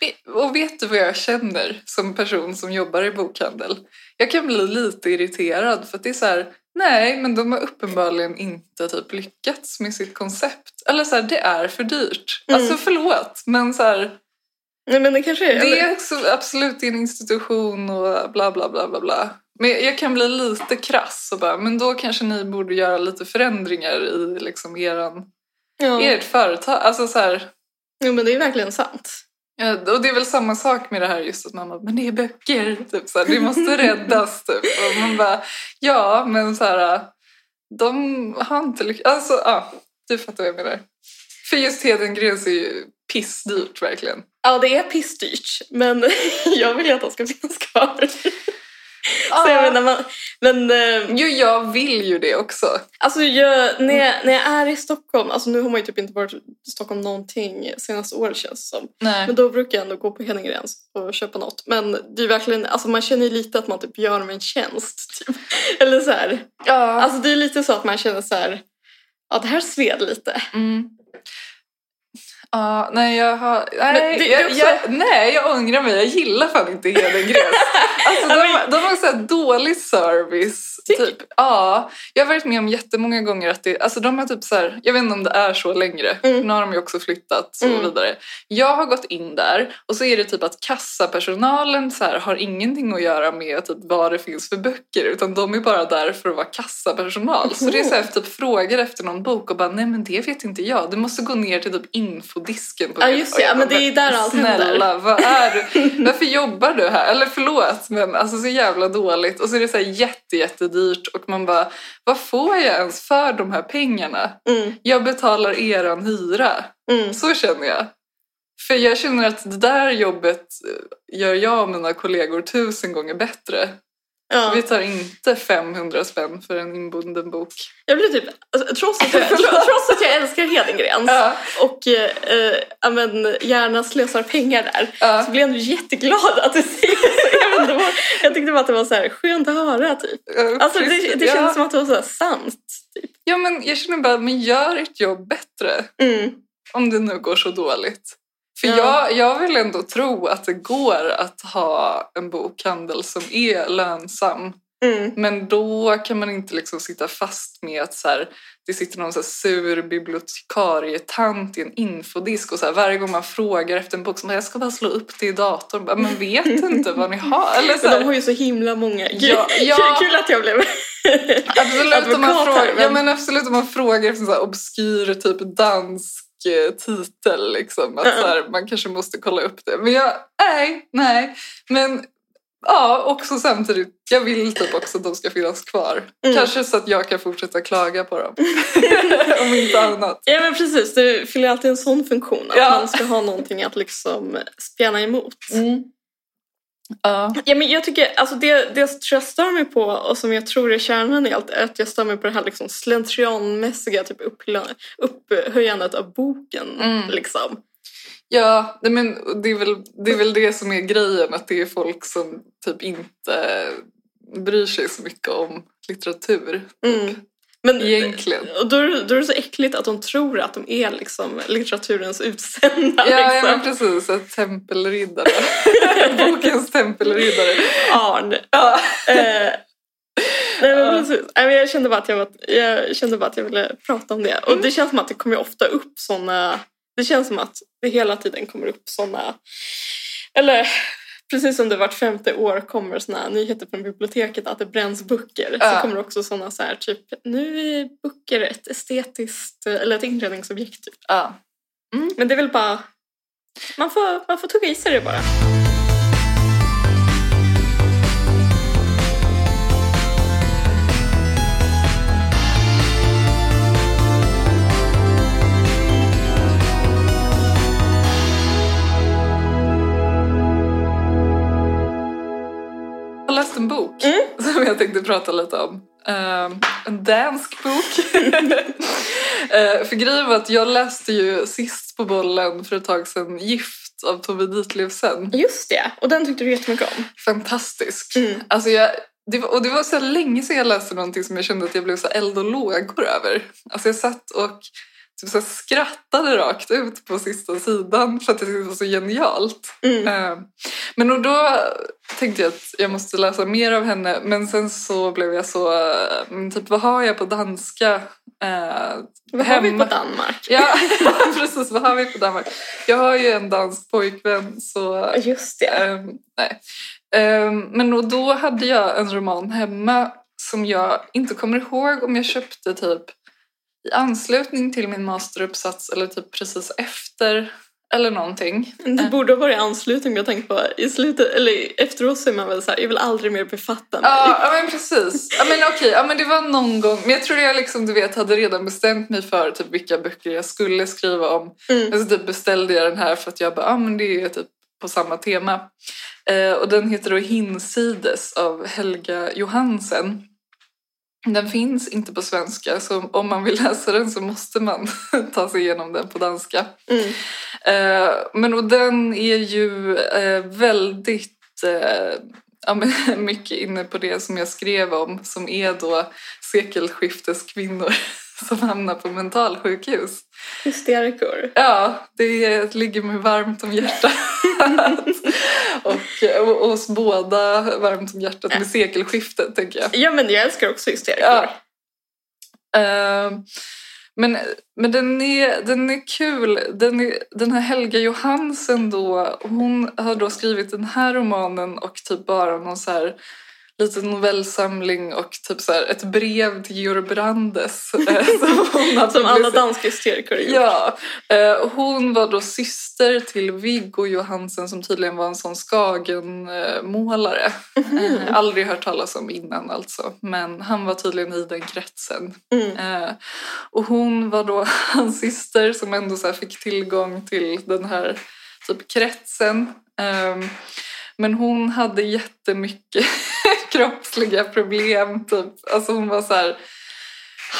Speaker 2: Ve- Och vet du vad jag känner som person som jobbar i bokhandel? Jag kan bli lite irriterad för att det är så här, nej men de har uppenbarligen inte typ lyckats med sitt koncept. Eller så här, det är för dyrt.
Speaker 1: Mm.
Speaker 2: Alltså förlåt, men så här,
Speaker 1: Nej men det kanske är...
Speaker 2: det
Speaker 1: eller-
Speaker 2: är också absolut en institution och bla bla bla bla bla. Men jag kan bli lite krass och bara, men då kanske ni borde göra lite förändringar i liksom eran,
Speaker 1: Ja.
Speaker 2: ert företag. Alltså så här,
Speaker 1: Jo, men det är verkligen sant.
Speaker 2: ja, och det är väl samma sak med det här just att man bara, men det är böcker, typ så här, det måste räddas typ. Och man bara, ja men så här, de har inte lyckats. Alltså ja, du fattar vad jag menar. För just Hedengrens är ju pissdyrt verkligen.
Speaker 1: Ja, det är pissdyrt, men jag vill ju att de ska finnas kvar. Så
Speaker 2: Ja.
Speaker 1: jag menar, man, men eh,
Speaker 2: Jo, jag vill ju det också.
Speaker 1: alltså, jag, när, jag, när jag är i Stockholm, alltså nu har man ju typ inte varit i Stockholm någonting senaste året känns det som.
Speaker 2: Nej.
Speaker 1: Men då brukar jag ändå gå på Hedengrens och köpa något. Men det är verkligen, alltså man känner ju lite att man typ gör dem en tjänst. Typ. Eller så här.
Speaker 2: Ja.
Speaker 1: Alltså det är lite så att man känner så här, ja det här sved lite.
Speaker 2: Mm. Ja, nej jag har... Nej,
Speaker 1: det- det är
Speaker 2: jag,
Speaker 1: också-
Speaker 2: jag, nej, jag ångrar mig. Jag gillar fan inte Hedengrens. alltså, de, de har så här dålig service.
Speaker 1: Tycker-
Speaker 2: Typ. Ja, jag har varit med om jättemånga gånger att det, alltså, de har typ så här, jag vet inte om det är så längre.
Speaker 1: Mm.
Speaker 2: Nu har de ju också flyttat och
Speaker 1: Mm.
Speaker 2: vidare. Jag har gått in där och så är det typ att kassapersonalen så här, har ingenting att göra med typ, vad det finns för böcker utan de är bara där för att vara kassapersonal. Så det är så här, typ, frågar efter någon bok och bara nej men det vet inte jag. Du måste gå ner till typ infodisken. På
Speaker 1: Ja, just det. Ja, men det är där allt
Speaker 2: Snälla,
Speaker 1: händer.
Speaker 2: Snälla, vad är du? Varför jobbar du här? Eller förlåt, men alltså så jävla dåligt. Och så är det så här jätte, jättedyrt och man bara, vad får jag ens för de här pengarna?
Speaker 1: Mm,
Speaker 2: Jag betalar eran hyra.
Speaker 1: mm.
Speaker 2: Så känner jag. För jag känner att det där jobbet eh, gör jag och mina kollegor tusen gånger bättre.
Speaker 1: Ja.
Speaker 2: Vi tar inte 500 spänn för en inbunden bok.
Speaker 1: Jag blir typ, alltså, trots, att jag, trots att jag älskar Hedengrens
Speaker 2: Ja,
Speaker 1: och eh, eh, ja, men, gärna slösar pengar där
Speaker 2: ja.
Speaker 1: så blev jag ändå jätteglad att du säger så. Jag, vet inte vad- jag tyckte bara att det var så här, skönt att höra typ.
Speaker 2: ja,
Speaker 1: Alltså, det,
Speaker 2: precis.
Speaker 1: det
Speaker 2: ja.
Speaker 1: kändes som att det var så här, sant.
Speaker 2: Ja, men jag känner bara, men gör ert jobb bättre.
Speaker 1: Mm.
Speaker 2: Om det nu går så dåligt. För
Speaker 1: Ja.
Speaker 2: jag, jag vill ändå tro att det går att ha en bokhandel som är lönsam.
Speaker 1: Mm.
Speaker 2: Men då kan man inte liksom sitta fast med att så här, det sitter någon så här sur bibliotekarietant i en infodisk och så här, varje gång man frågar efter en bok så bara, jag ska bara slå upp det i datorn. Bara, Men vet inte vad ni har? Eller så
Speaker 1: Men
Speaker 2: här,
Speaker 1: de har ju så himla många. Kul,
Speaker 2: Ja, ja.
Speaker 1: kul att jag blev...
Speaker 2: Absolut om, man
Speaker 1: Advokat här,
Speaker 2: frågar, ja,
Speaker 1: men-
Speaker 2: men absolut om man frågar efter en så här obskyr typ dansk eh, titel. Liksom, att
Speaker 1: Mm.
Speaker 2: så här, man kanske måste kolla upp det. Men jag, nej, nej. Men ja, också samtidigt, jag vill typ också att de ska finnas kvar.
Speaker 1: Mm.
Speaker 2: Kanske så att jag kan fortsätta klaga på dem. om inte annat.
Speaker 1: ja men precis, det fyller alltid en sån funktion. Att
Speaker 2: Ja.
Speaker 1: man ska ha någonting att liksom spjärna emot.
Speaker 2: Ja.
Speaker 1: Ja, men jag tycker, alltså det, det tror jag stör mig på och som jag tror är kärnan i allt är att jag stör mig på det här liksom slentrianmässiga typ upphö- upphöjandet av boken.
Speaker 2: Mm.
Speaker 1: Liksom.
Speaker 2: Ja, nej, men det är, väl, det är väl det som är grejen, att det är folk som typ inte bryr sig så mycket om litteratur
Speaker 1: Mm. Men,
Speaker 2: egentligen.
Speaker 1: och då, är det- då är det så äckligt att de tror att de är liksom litteraturens utsända.
Speaker 2: Ja, ja
Speaker 1: liksom.
Speaker 2: men precis. Ett tempelriddare. Bokens tempelriddare.
Speaker 1: Arn.
Speaker 2: Ja.
Speaker 1: Eh, Nej, men
Speaker 2: Ja.
Speaker 1: precis. Nej, men jag, kände bara att jag, var, jag kände bara att jag ville prata om det. Och det känns som att det kommer ofta upp såna... Det känns som att det hela tiden kommer upp såna... Eller precis som det vart femte år kommer såna nyheter från biblioteket att det bränns böcker.
Speaker 2: Ja.
Speaker 1: Så kommer det också såna så här typ nu är böcker ett estetiskt eller ett inredningsobjekt. Typ.
Speaker 2: ja.
Speaker 1: Men det är väl bara... Man får, man får tugga i sig det bara.
Speaker 2: Jag har läst en bok
Speaker 1: Mm.
Speaker 2: som jag tänkte prata lite om. Ehm, en dansk bok. Eh, för grejen var att jag läste ju sist på bollen för ett tag sedan Gift av Tove Ditlevsen.
Speaker 1: Just det, och den tyckte du jättemycket om.
Speaker 2: Fantastisk.
Speaker 1: Mm.
Speaker 2: Alltså jag, det var, och det var så här länge sedan jag läste någonting som jag kände att jag blev så här eld och lågor över. Alltså jag satt och typ så här skrattade rakt ut på sista sidan för att jag tyckte det var så genialt.
Speaker 1: Mm.
Speaker 2: Eh, Men och då tänkte jag att jag måste läsa mer av henne men sen så blev jag så, eh, men typ vad har jag på danska? Eh,
Speaker 1: Vad har vi på
Speaker 2: Hemma.
Speaker 1: Danmark?
Speaker 2: ja, precis. Vad har vi på Danmark? Jag har ju en dansk pojkvän så
Speaker 1: Just det.
Speaker 2: Ehm, nej. Ehm, men och då hade jag en roman hemma som jag inte kommer ihåg om jag köpte typ i anslutning till min masteruppsats eller typ precis efter eller någonting.
Speaker 1: Det borde ha varit i anslutning men jag tänkte på i slutet, eller efteråt så är man väl så här, jag vill aldrig mer befatta mig.
Speaker 2: Ja, ja, men precis. Ja, men okej, ja, men det var någon gång. Men jag tror jag liksom, du vet, hade redan bestämt mig för typ vilka böcker jag skulle skriva om.
Speaker 1: Mm.
Speaker 2: Men så typ beställde jag den här för att jag bara, ah, men det är typ på samma tema. Eh, och den heter då Hinsides av Helga Johansen. Den finns inte på svenska så om man vill läsa den så måste man ta sig igenom den på danska.
Speaker 1: Mm.
Speaker 2: Eh, men och den är ju eh, väldigt eh, ja, men, mycket inne på det som jag skrev om som är då sekelskifteskvinnor som hamnar på mentalsjukhus.
Speaker 1: Hysterikor.
Speaker 2: Ja, det ligger mig varmt om hjärtat. och, och, och oss båda varmt om hjärtat med sekelskiftet, tänker jag.
Speaker 1: Ja men jag älskar också hysterikor.
Speaker 2: Ja. Ehm, men men den, är, den är kul. Den, är, den här Helga Johansen då, hon har då skrivit den här romanen och typ bara någon så här liten novellsamling och typ så här ett brev till Georg Brandes. eh, som hon har
Speaker 1: Som alla
Speaker 2: publicerat.
Speaker 1: danska hysterikor gjort.
Speaker 2: Ja, eh, hon var då syster till Viggo Johansen som tydligen var en sån Skagen-målare. Eh, aldrig hört talas om innan alltså, men han var tydligen i den kretsen.
Speaker 1: Mm.
Speaker 2: Eh, och hon var då hans syster som ändå så här fick tillgång till den här typ kretsen. Ehm, men hon hade jättemycket kroppsliga problem. Typ. Alltså hon var så här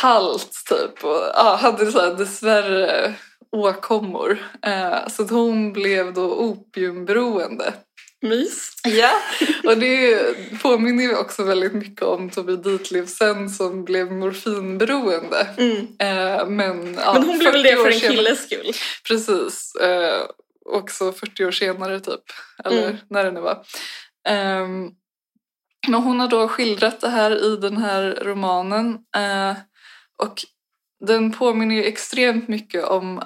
Speaker 2: halt typ och ja, hade så här dessvärre åkommor. Eh, så att hon blev då opiumberoende.
Speaker 1: Mys.
Speaker 2: Ja, och det är ju- påminner ju också väldigt mycket om Tove Ditlevsen som blev morfinberoende.
Speaker 1: Mm.
Speaker 2: Eh, men, ja,
Speaker 1: Men hon blev väl
Speaker 2: 40
Speaker 1: det för
Speaker 2: år
Speaker 1: en
Speaker 2: senare-
Speaker 1: killes skull.
Speaker 2: Precis. Eh, också 40 år senare typ. Eller
Speaker 1: Mm.
Speaker 2: när det nu var. Ehm, men hon har då skildrat det här i den här romanen. Eh, och den påminner ju extremt mycket om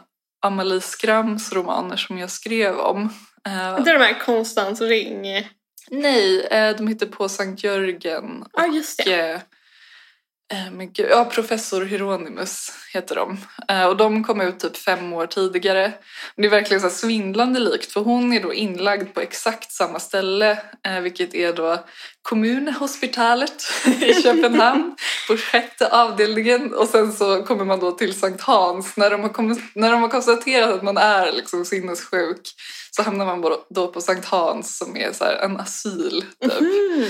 Speaker 2: Amalie Skrams romaner som jag skrev om. Eh,
Speaker 1: Det är de här Konstans ring. Ja
Speaker 2: nej, eh, de heter På Sankt Jörgen
Speaker 1: ah, just
Speaker 2: och,
Speaker 1: det.
Speaker 2: eh, eh, men gud, ja, Professor Hieronymus heter de. Eh, Och de kom ut typ fem år tidigare. Det är verkligen så här svindlande likt för hon är då inlagd på exakt samma ställe eh, vilket är då kommunhospitalet i Köpenhamn på sjätte avdelningen och sen så kommer man då till Sankt Hans. När de har, kommit, när de har konstaterat att man är liksom sinnessjuk så hamnar man bara- då på Sankt Hans som är så här en asyl typ
Speaker 1: Mm.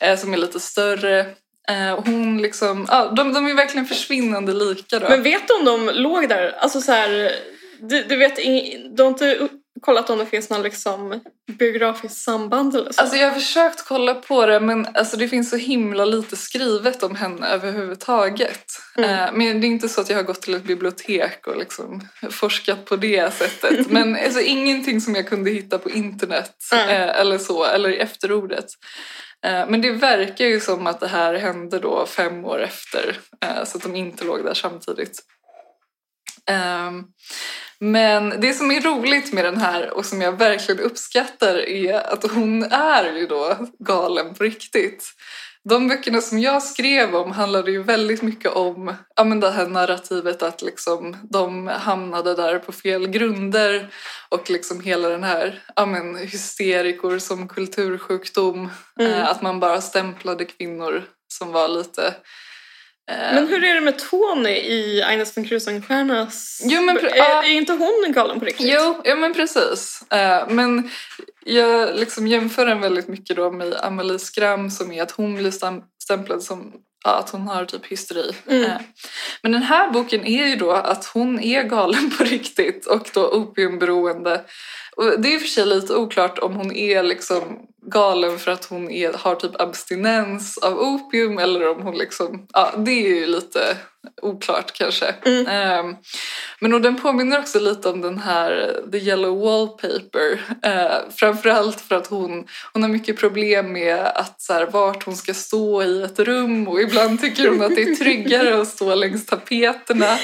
Speaker 2: eh, som är lite större. Eh, och hon liksom, ja, de, de är verkligen försvinnande lika då.
Speaker 1: Men vet du om de låg där? Alltså så här, du, du vet, ing- du har inte u- kollat om det finns någon liksom biografiskt samband eller så?
Speaker 2: Alltså jag har försökt kolla på det men alltså det finns så himla lite skrivet om henne överhuvudtaget.
Speaker 1: Mm.
Speaker 2: Eh, men det är inte så att jag har gått till ett bibliotek och liksom forskat på det sättet. men alltså ingenting som jag kunde hitta på internet
Speaker 1: Mm.
Speaker 2: eh, eller så, eller i efterordet. Eh, men det verkar ju som att det här hände då fem år efter eh, så att de inte låg där samtidigt. Ehm, men det som är roligt med den här och som jag verkligen uppskattar är att hon är ju då galen på riktigt. De böckerna som jag skrev om handlade ju väldigt mycket om ja, men det här narrativet att liksom, de hamnade där på fel grunder och liksom hela den här ja, men, hysterikor som kultursjukdom.
Speaker 1: Mm.
Speaker 2: Eh, att man bara stämplade kvinnor som var lite... eh,
Speaker 1: Men hur är det med Tony i Agnes von Krusenstjernas...
Speaker 2: Jo, men pr-
Speaker 1: är,
Speaker 2: ja.
Speaker 1: är inte hon galen på riktigt?
Speaker 2: Jo, ja men precis. Eh, men jag liksom jämför den väldigt mycket då med Amelie Skram som är att hon blir stam- stämplad som ja, att hon har typ hysteri.
Speaker 1: Mm.
Speaker 2: Eh, men den här boken är ju då att hon är galen på riktigt och då opiumberoende. Och det är i och för sig lite oklart om hon är liksom galen för att hon är, har typ abstinens av opium eller om hon liksom... Ja, det är ju lite Oklart kanske.
Speaker 1: Mm.
Speaker 2: Ehm, men och den påminner också lite om den här The Yellow Wallpaper. Uh, framförallt för att hon, hon har mycket problem med att så här, vart hon ska stå i ett rum och ibland tycker hon att det är tryggare att stå längs tapeterna.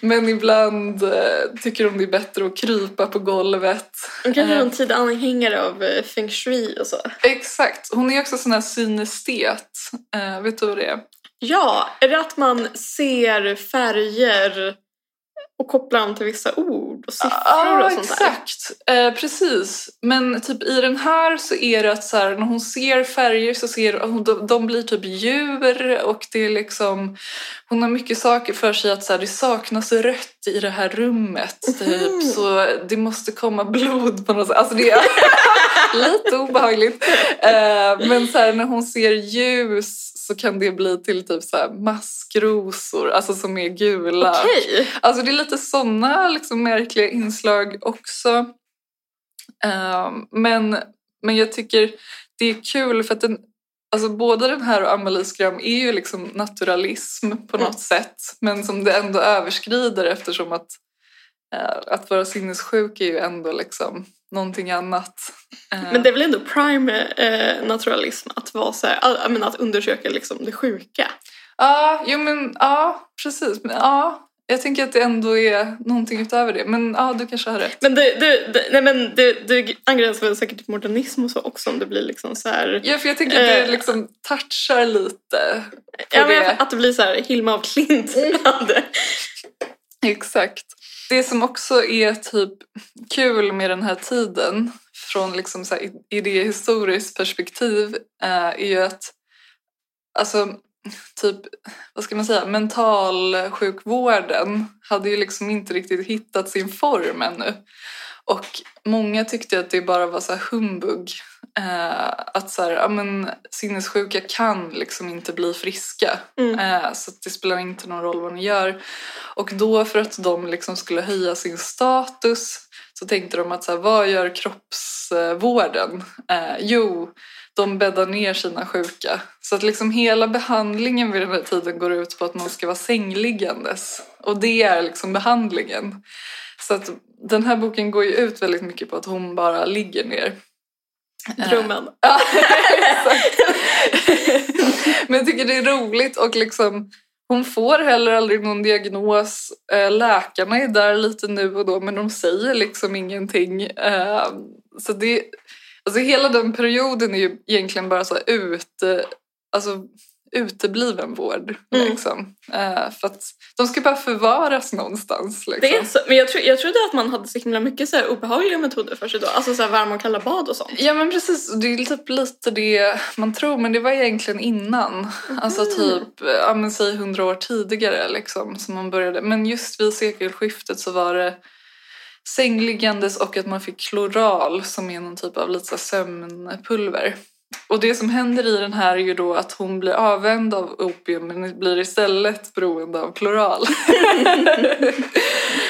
Speaker 2: Men ibland eh, tycker hon det är bättre att krypa på golvet.
Speaker 1: Hon kanske är
Speaker 2: Eh.
Speaker 1: en tid anhängare av eh, feng shui och så.
Speaker 2: Exakt. Hon är också sån här synestet. Eh, vet du vad det är?
Speaker 1: Ja, är det att man ser färger och kopplar an till vissa ord och siffror och sånt där?
Speaker 2: exakt. Eh, precis. Men typ i den här så är det att så här, när hon ser färger så ser hon, de, de blir typ djur och det är liksom hon har mycket saker för sig att så här, det saknas rött i det här rummet
Speaker 1: Mhm.
Speaker 2: typ så det måste komma blod på något sätt. Alltså det är lite obehagligt. Eh, men så här, när hon ser ljus så kan det bli till typ så här maskrosor, alltså som är gula.
Speaker 1: Okej.
Speaker 2: Alltså det är lite sådana liksom, märkliga inslag också. Ehm, men, men jag tycker det är kul för att den, alltså, både den här och Amelie Skram är ju liksom naturalism på något
Speaker 1: Mm.
Speaker 2: sätt. Men som det ändå överskrider eftersom att, eh, att vara sinnessjuk är ju ändå liksom någonting annat. Eh,
Speaker 1: Men det är väl ändå prime eh, naturalism att vara så här, all- jag menar, att undersöka liksom det sjuka.
Speaker 2: Ja, jo men ja, precis. Men, ja, jag tänker att det ändå är någonting utöver det. Men ja, du kanske har rätt.
Speaker 1: Men det, det, det, nej, men det, det angränsar väl säkert till modernism och så också om det blir liksom så här...
Speaker 2: Ja, för jag tänker att det
Speaker 1: Eh.
Speaker 2: liksom touchar lite.
Speaker 1: Ja, men
Speaker 2: det. Mm.
Speaker 1: att det blir så här Hilma av Klint. hade.
Speaker 2: Exakt. Det som också är typ kul med den här tiden från liksom så här idéhistoriskt perspektiv eh, är ju att alltså typ, vad ska man säga, mentalsjukvården hade ju liksom inte riktigt hittat sin form ännu. Och många tyckte att det bara var så här humbug. Eh, att så här, ja, men, sinnessjuka kan liksom inte bli friska.
Speaker 1: Mm.
Speaker 2: Eh, så att det spelar inte någon roll vad ni gör. Och då för att de liksom skulle höja sin status så tänkte de att så här, vad gör kroppsvården? Eh, jo, de bäddar ner sina sjuka. Så att liksom hela behandlingen vid den här tiden går ut på att man ska vara sängliggandes. Och det är liksom behandlingen. Så att den här boken går ju ut väldigt mycket på att hon bara ligger ner. Eh,
Speaker 1: Drömmen.
Speaker 2: Ja, exakt. Men jag tycker det är roligt och liksom hon får heller aldrig någon diagnos. Eh, Läkarna är där lite nu och då men de säger liksom ingenting. Eh, Så det, alltså hela den perioden är ju egentligen bara så här ute, alltså utebliven vård.
Speaker 1: Mm.
Speaker 2: Liksom. Eh, För att de ska bara förvaras någonstans. Liksom.
Speaker 1: Det är så, men jag, tro, jag trodde att man hade så himla mycket så här obehagliga metoder för sig då. Alltså så här varma och kalla bad och sånt.
Speaker 2: Ja men precis, det är typ lite det man tror men det var egentligen innan. Alltså typ, ja men säg hundra år tidigare liksom som man började. Men just vid sekelskiftet så var det sängliggandes och att man fick kloral som är någon typ av lite så här sömnpulver. Och det som händer i den här är ju då att hon blir avvänd av opium men blir istället beroende av kloral.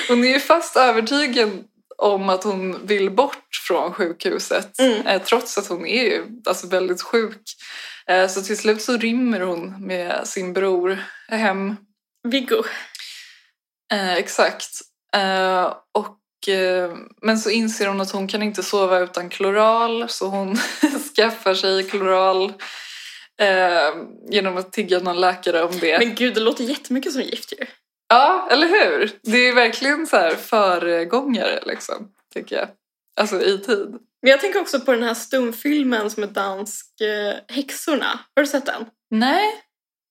Speaker 2: hon är ju fast övertygad om att hon vill bort från sjukhuset
Speaker 1: Mm.
Speaker 2: eh, trots att hon är ju alltså, väldigt sjuk. Eh, så till slut så rymmer hon med sin bror hem
Speaker 1: Viggo.
Speaker 2: Eh, exakt. Eh, och, eh, men så inser hon att hon kan inte sova utan kloral så hon skaffar sig kloral eh, genom att tigga någon läkare om det.
Speaker 1: Men gud, det låter jättemycket som gift ju.
Speaker 2: Ja, eller hur? Det är verkligen så här föregångare liksom, tycker jag. Alltså i tid.
Speaker 1: Men jag tänker också på den här stumfilmen som är dansk, eh, Häxorna. Har du sett den?
Speaker 2: Nej,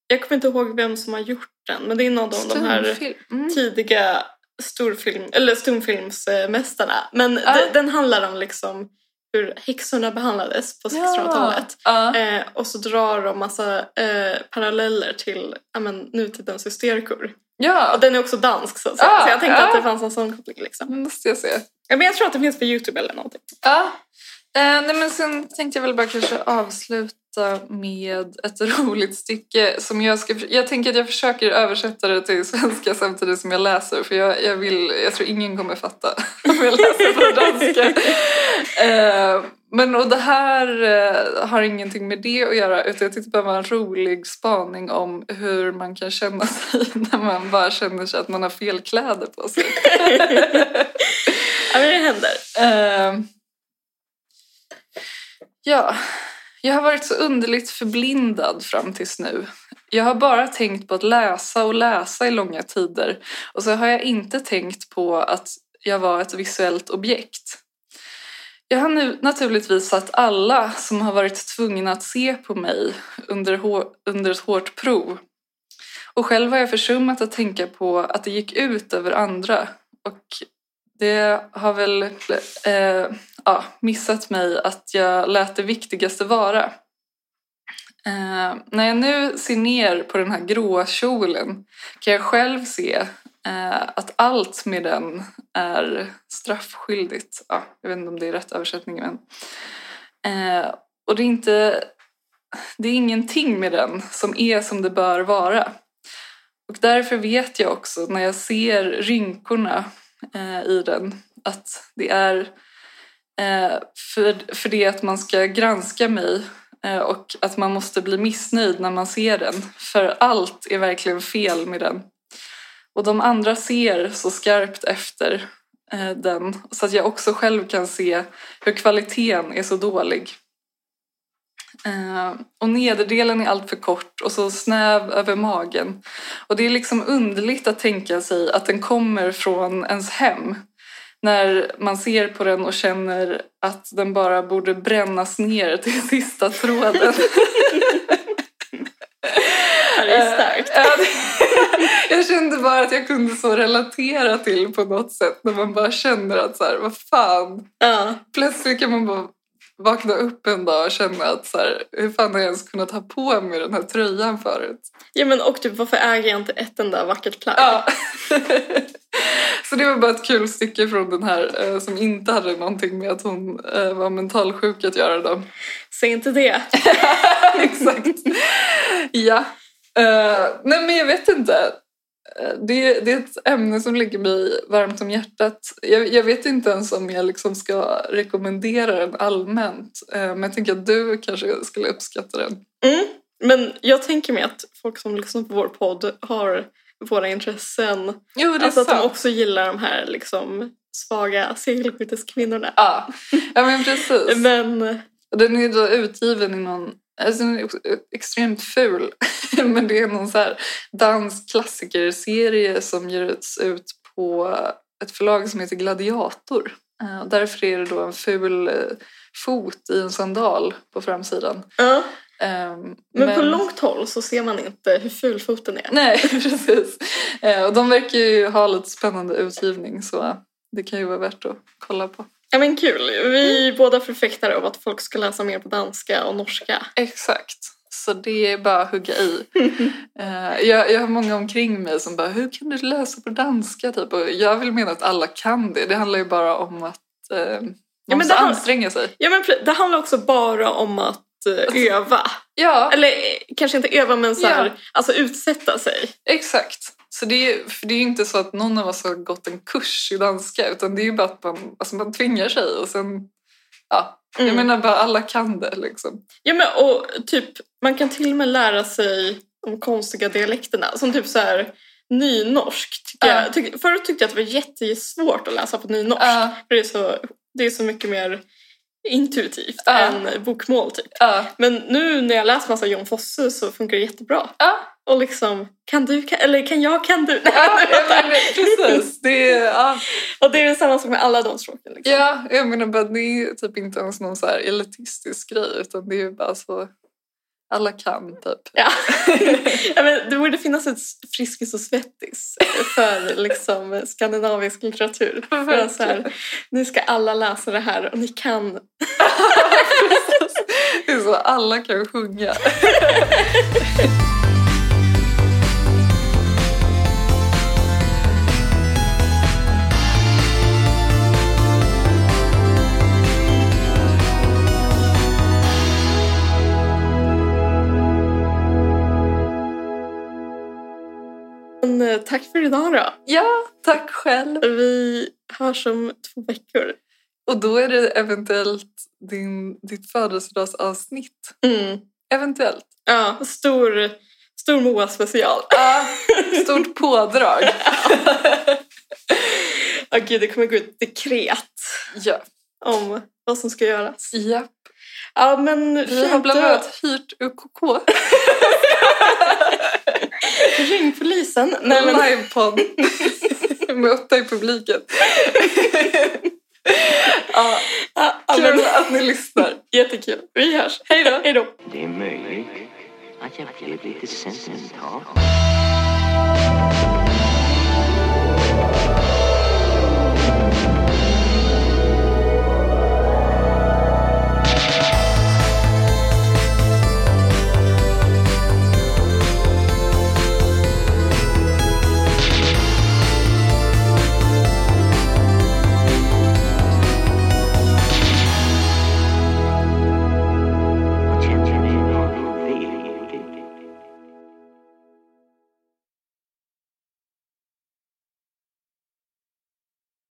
Speaker 1: Jag kommer inte ihåg vem som har gjort den, men det är någon av de här
Speaker 2: stumfilm. Mm.
Speaker 1: tidiga storfilm, eller stumfilmsmästarna. Men
Speaker 2: Ja.
Speaker 1: de, den handlar om liksom hur häxorna behandlades på 1600-talet.
Speaker 2: Ja. Ja.
Speaker 1: Eh, och så drar de massa eh, paralleller till ja, men, nutidens hysterkor.
Speaker 2: ja,
Speaker 1: Och den är också dansk så att säga.
Speaker 2: Ja,
Speaker 1: så jag tänkte
Speaker 2: ja.
Speaker 1: att det fanns en sån koppling. Liksom.
Speaker 2: den måste jag se.
Speaker 1: Ja, men jag tror att det finns på Youtube eller någonting.
Speaker 2: Ja. Eh, nej men sen tänkte jag väl bara kanske avsluta med ett roligt stycke som jag ska... Jag tänker att jag försöker översätta det till svenska samtidigt som jag läser för jag, jag vill... Jag tror ingen kommer fatta om jag läser på danska. Eh, Men och det här eh, har ingenting med det att göra utan jag tyckte bara det var en rolig spaning om hur man kan känna sig när man bara känner sig att man har fel kläder på sig.
Speaker 1: Ja, men det händer.
Speaker 2: Eh, ja, jag har varit så underligt förblindad fram tills nu. Jag har bara tänkt på att läsa och läsa i långa tider och så har jag inte tänkt på att jag var ett visuellt objekt. Jag har nu naturligtvis satt alla som har varit tvungna att se på mig under, hår, under ett hårt prov. Och själv har jag försummat att tänka på att det gick ut över andra och det har väl eh, ja, missat mig att jag lät det viktigaste vara. Eh, när jag nu ser ner på den här gråa kjolen kan jag själv se eh, att allt med den är straffskyldigt. Ja, jag vet inte om det är rätt översättning. Men, eh, och det är, inte, det är ingenting med den som är som det bör vara. Och därför vet jag också när jag ser rynkorna eh, i den. Att det är eh, för, för det att man ska granska mig eh, och att man måste bli missnöjd när man ser den. För allt är verkligen fel med den. Och de andra ser så skarpt efter eh, den så att jag också själv kan se hur kvaliteten är så dålig. Eh, och nederdelen är alltför kort och så snäv över magen. Och det är liksom underligt att tänka sig att den kommer från ens hem. När man ser på den och känner att den bara borde brännas ner till sista tråden.
Speaker 1: Ja, Det är starkt.
Speaker 2: Eh, ja, det- jag kände bara att jag kunde så relatera till på något sätt. När man bara känner att så här, vad fan,
Speaker 1: Ja.
Speaker 2: plötsligt kan man bara vakna upp en dag och känna att så här, hur fan har jag ens kunnat ha på mig den här tröjan förut?
Speaker 1: ja, men och typ varför äger jag inte ett enda vackert plagg?
Speaker 2: Ja. Så det var bara ett kul stycke från den här eh, som inte hade någonting med att hon eh, var mentalsjuk att göra då.
Speaker 1: Säg inte det.
Speaker 2: Exakt. Ja. Eh, nej men jag vet inte. Eh, Det, det är ett ämne som ligger mig varmt om hjärtat. Jag, jag vet inte ens om jag liksom ska rekommendera den allmänt. Eh, men jag tänker att du kanske skulle uppskatta den.
Speaker 1: Mm. Men jag tänker mig att folk som lyssnar på vår podd har våra intressen.
Speaker 2: Jo, det
Speaker 1: Alltså att de också gillar de här liksom svaga segelskytteskvinnorna.
Speaker 2: Ja. ja, men precis.
Speaker 1: Men
Speaker 2: Och Den är ju då utgiven i någon... Alltså den är också extremt ful. Men det är någon så här dansklassikerserie som ges ut på ett förlag som heter Gladiator. Eh, Och därför är det då en ful eh, fot i en sandal på framsidan.
Speaker 1: ja.
Speaker 2: Eh,
Speaker 1: Men, på långt håll så ser man inte hur ful foten är.
Speaker 2: Nej, precis. Eh, Och de verkar ju ha lite spännande utgivning så det kan ju vara värt att kolla på.
Speaker 1: Ja men kul. Vi
Speaker 2: Mm.
Speaker 1: båda förfäktar av att folk ska läsa mer på danska och norska.
Speaker 2: Exakt. Så det är bara att hugga i. Eh, jag, jag har många omkring mig som bara, hur kan du läsa på danska? Typ. Och jag vill mena att alla kan det. Det handlar ju bara om att eh, man
Speaker 1: men
Speaker 2: måste
Speaker 1: det har-
Speaker 2: anstränga sig.
Speaker 1: Ja men pre- det handlar också bara om att eh, öva.
Speaker 2: Ja,
Speaker 1: Eller eh, kanske inte öva men så här,
Speaker 2: Alltså- Ja.
Speaker 1: alltså utsätta sig.
Speaker 2: exakt. Så det är, för det är ju inte så att någon av oss har gått en kurs i danska utan det är ju bara att man, alltså man tvingar sig och sen... Ja,
Speaker 1: Mm.
Speaker 2: Jag menar bara alla kan det liksom.
Speaker 1: Ja men och typ man kan till och med lära sig de konstiga dialekterna. Som typ så här nynorsk. Tycker
Speaker 2: Ja.
Speaker 1: jag. Tyck, förut tyckte jag att det var jättesvårt att läsa på nynorsk.
Speaker 2: Ja.
Speaker 1: För det är, så, det är så mycket mer intuitivt
Speaker 2: Ja.
Speaker 1: än bokmål typ.
Speaker 2: Ja,
Speaker 1: Men nu när jag läser massa Jon Fosse så funkar det jättebra.
Speaker 2: ja.
Speaker 1: Och liksom, kan du, kan, eller kan jag, kan du?
Speaker 2: ja jag menar, precis. Det är, ja.
Speaker 1: och det är detsamma som med alla de språken. Liksom.
Speaker 2: Ja, jag menar bara det är typ inte ens någon så här elitistisk grej utan det är ju bara så alla kan typ.
Speaker 1: Ja. ja, men det borde finnas ett Friskis och Svettis för liksom, skandinavisk litteratur. För att så här, nu ska alla läsa det här och ni kan.
Speaker 2: Det är så alla kan sjunga.
Speaker 1: Men, eh, tack för idag då.
Speaker 2: Ja, tack själv.
Speaker 1: Vi hörs om två veckor.
Speaker 2: Och då är det eventuellt din, ditt födelsedagsavsnitt.
Speaker 1: Mm.
Speaker 2: Eventuellt.
Speaker 1: Ja, stor, stor Moa-special.
Speaker 2: Ja, Ah, stort pådrag.
Speaker 1: Ja, gud, det kommer gå ut dekret
Speaker 2: Ja.
Speaker 1: om vad som ska göras.
Speaker 2: ja.
Speaker 1: Ja, men
Speaker 2: Vi har bland annat hyrt UKK.
Speaker 1: Ring polisen. Nej, men,
Speaker 2: Livepodd. Med åtta i publiken. ja,
Speaker 1: ja, ja, men,
Speaker 2: kul att ni lyssnar.
Speaker 1: jättekul. Vi hörs. Hej då. Hej då.
Speaker 3: Det är möjligt att jag ville bli till sentimental.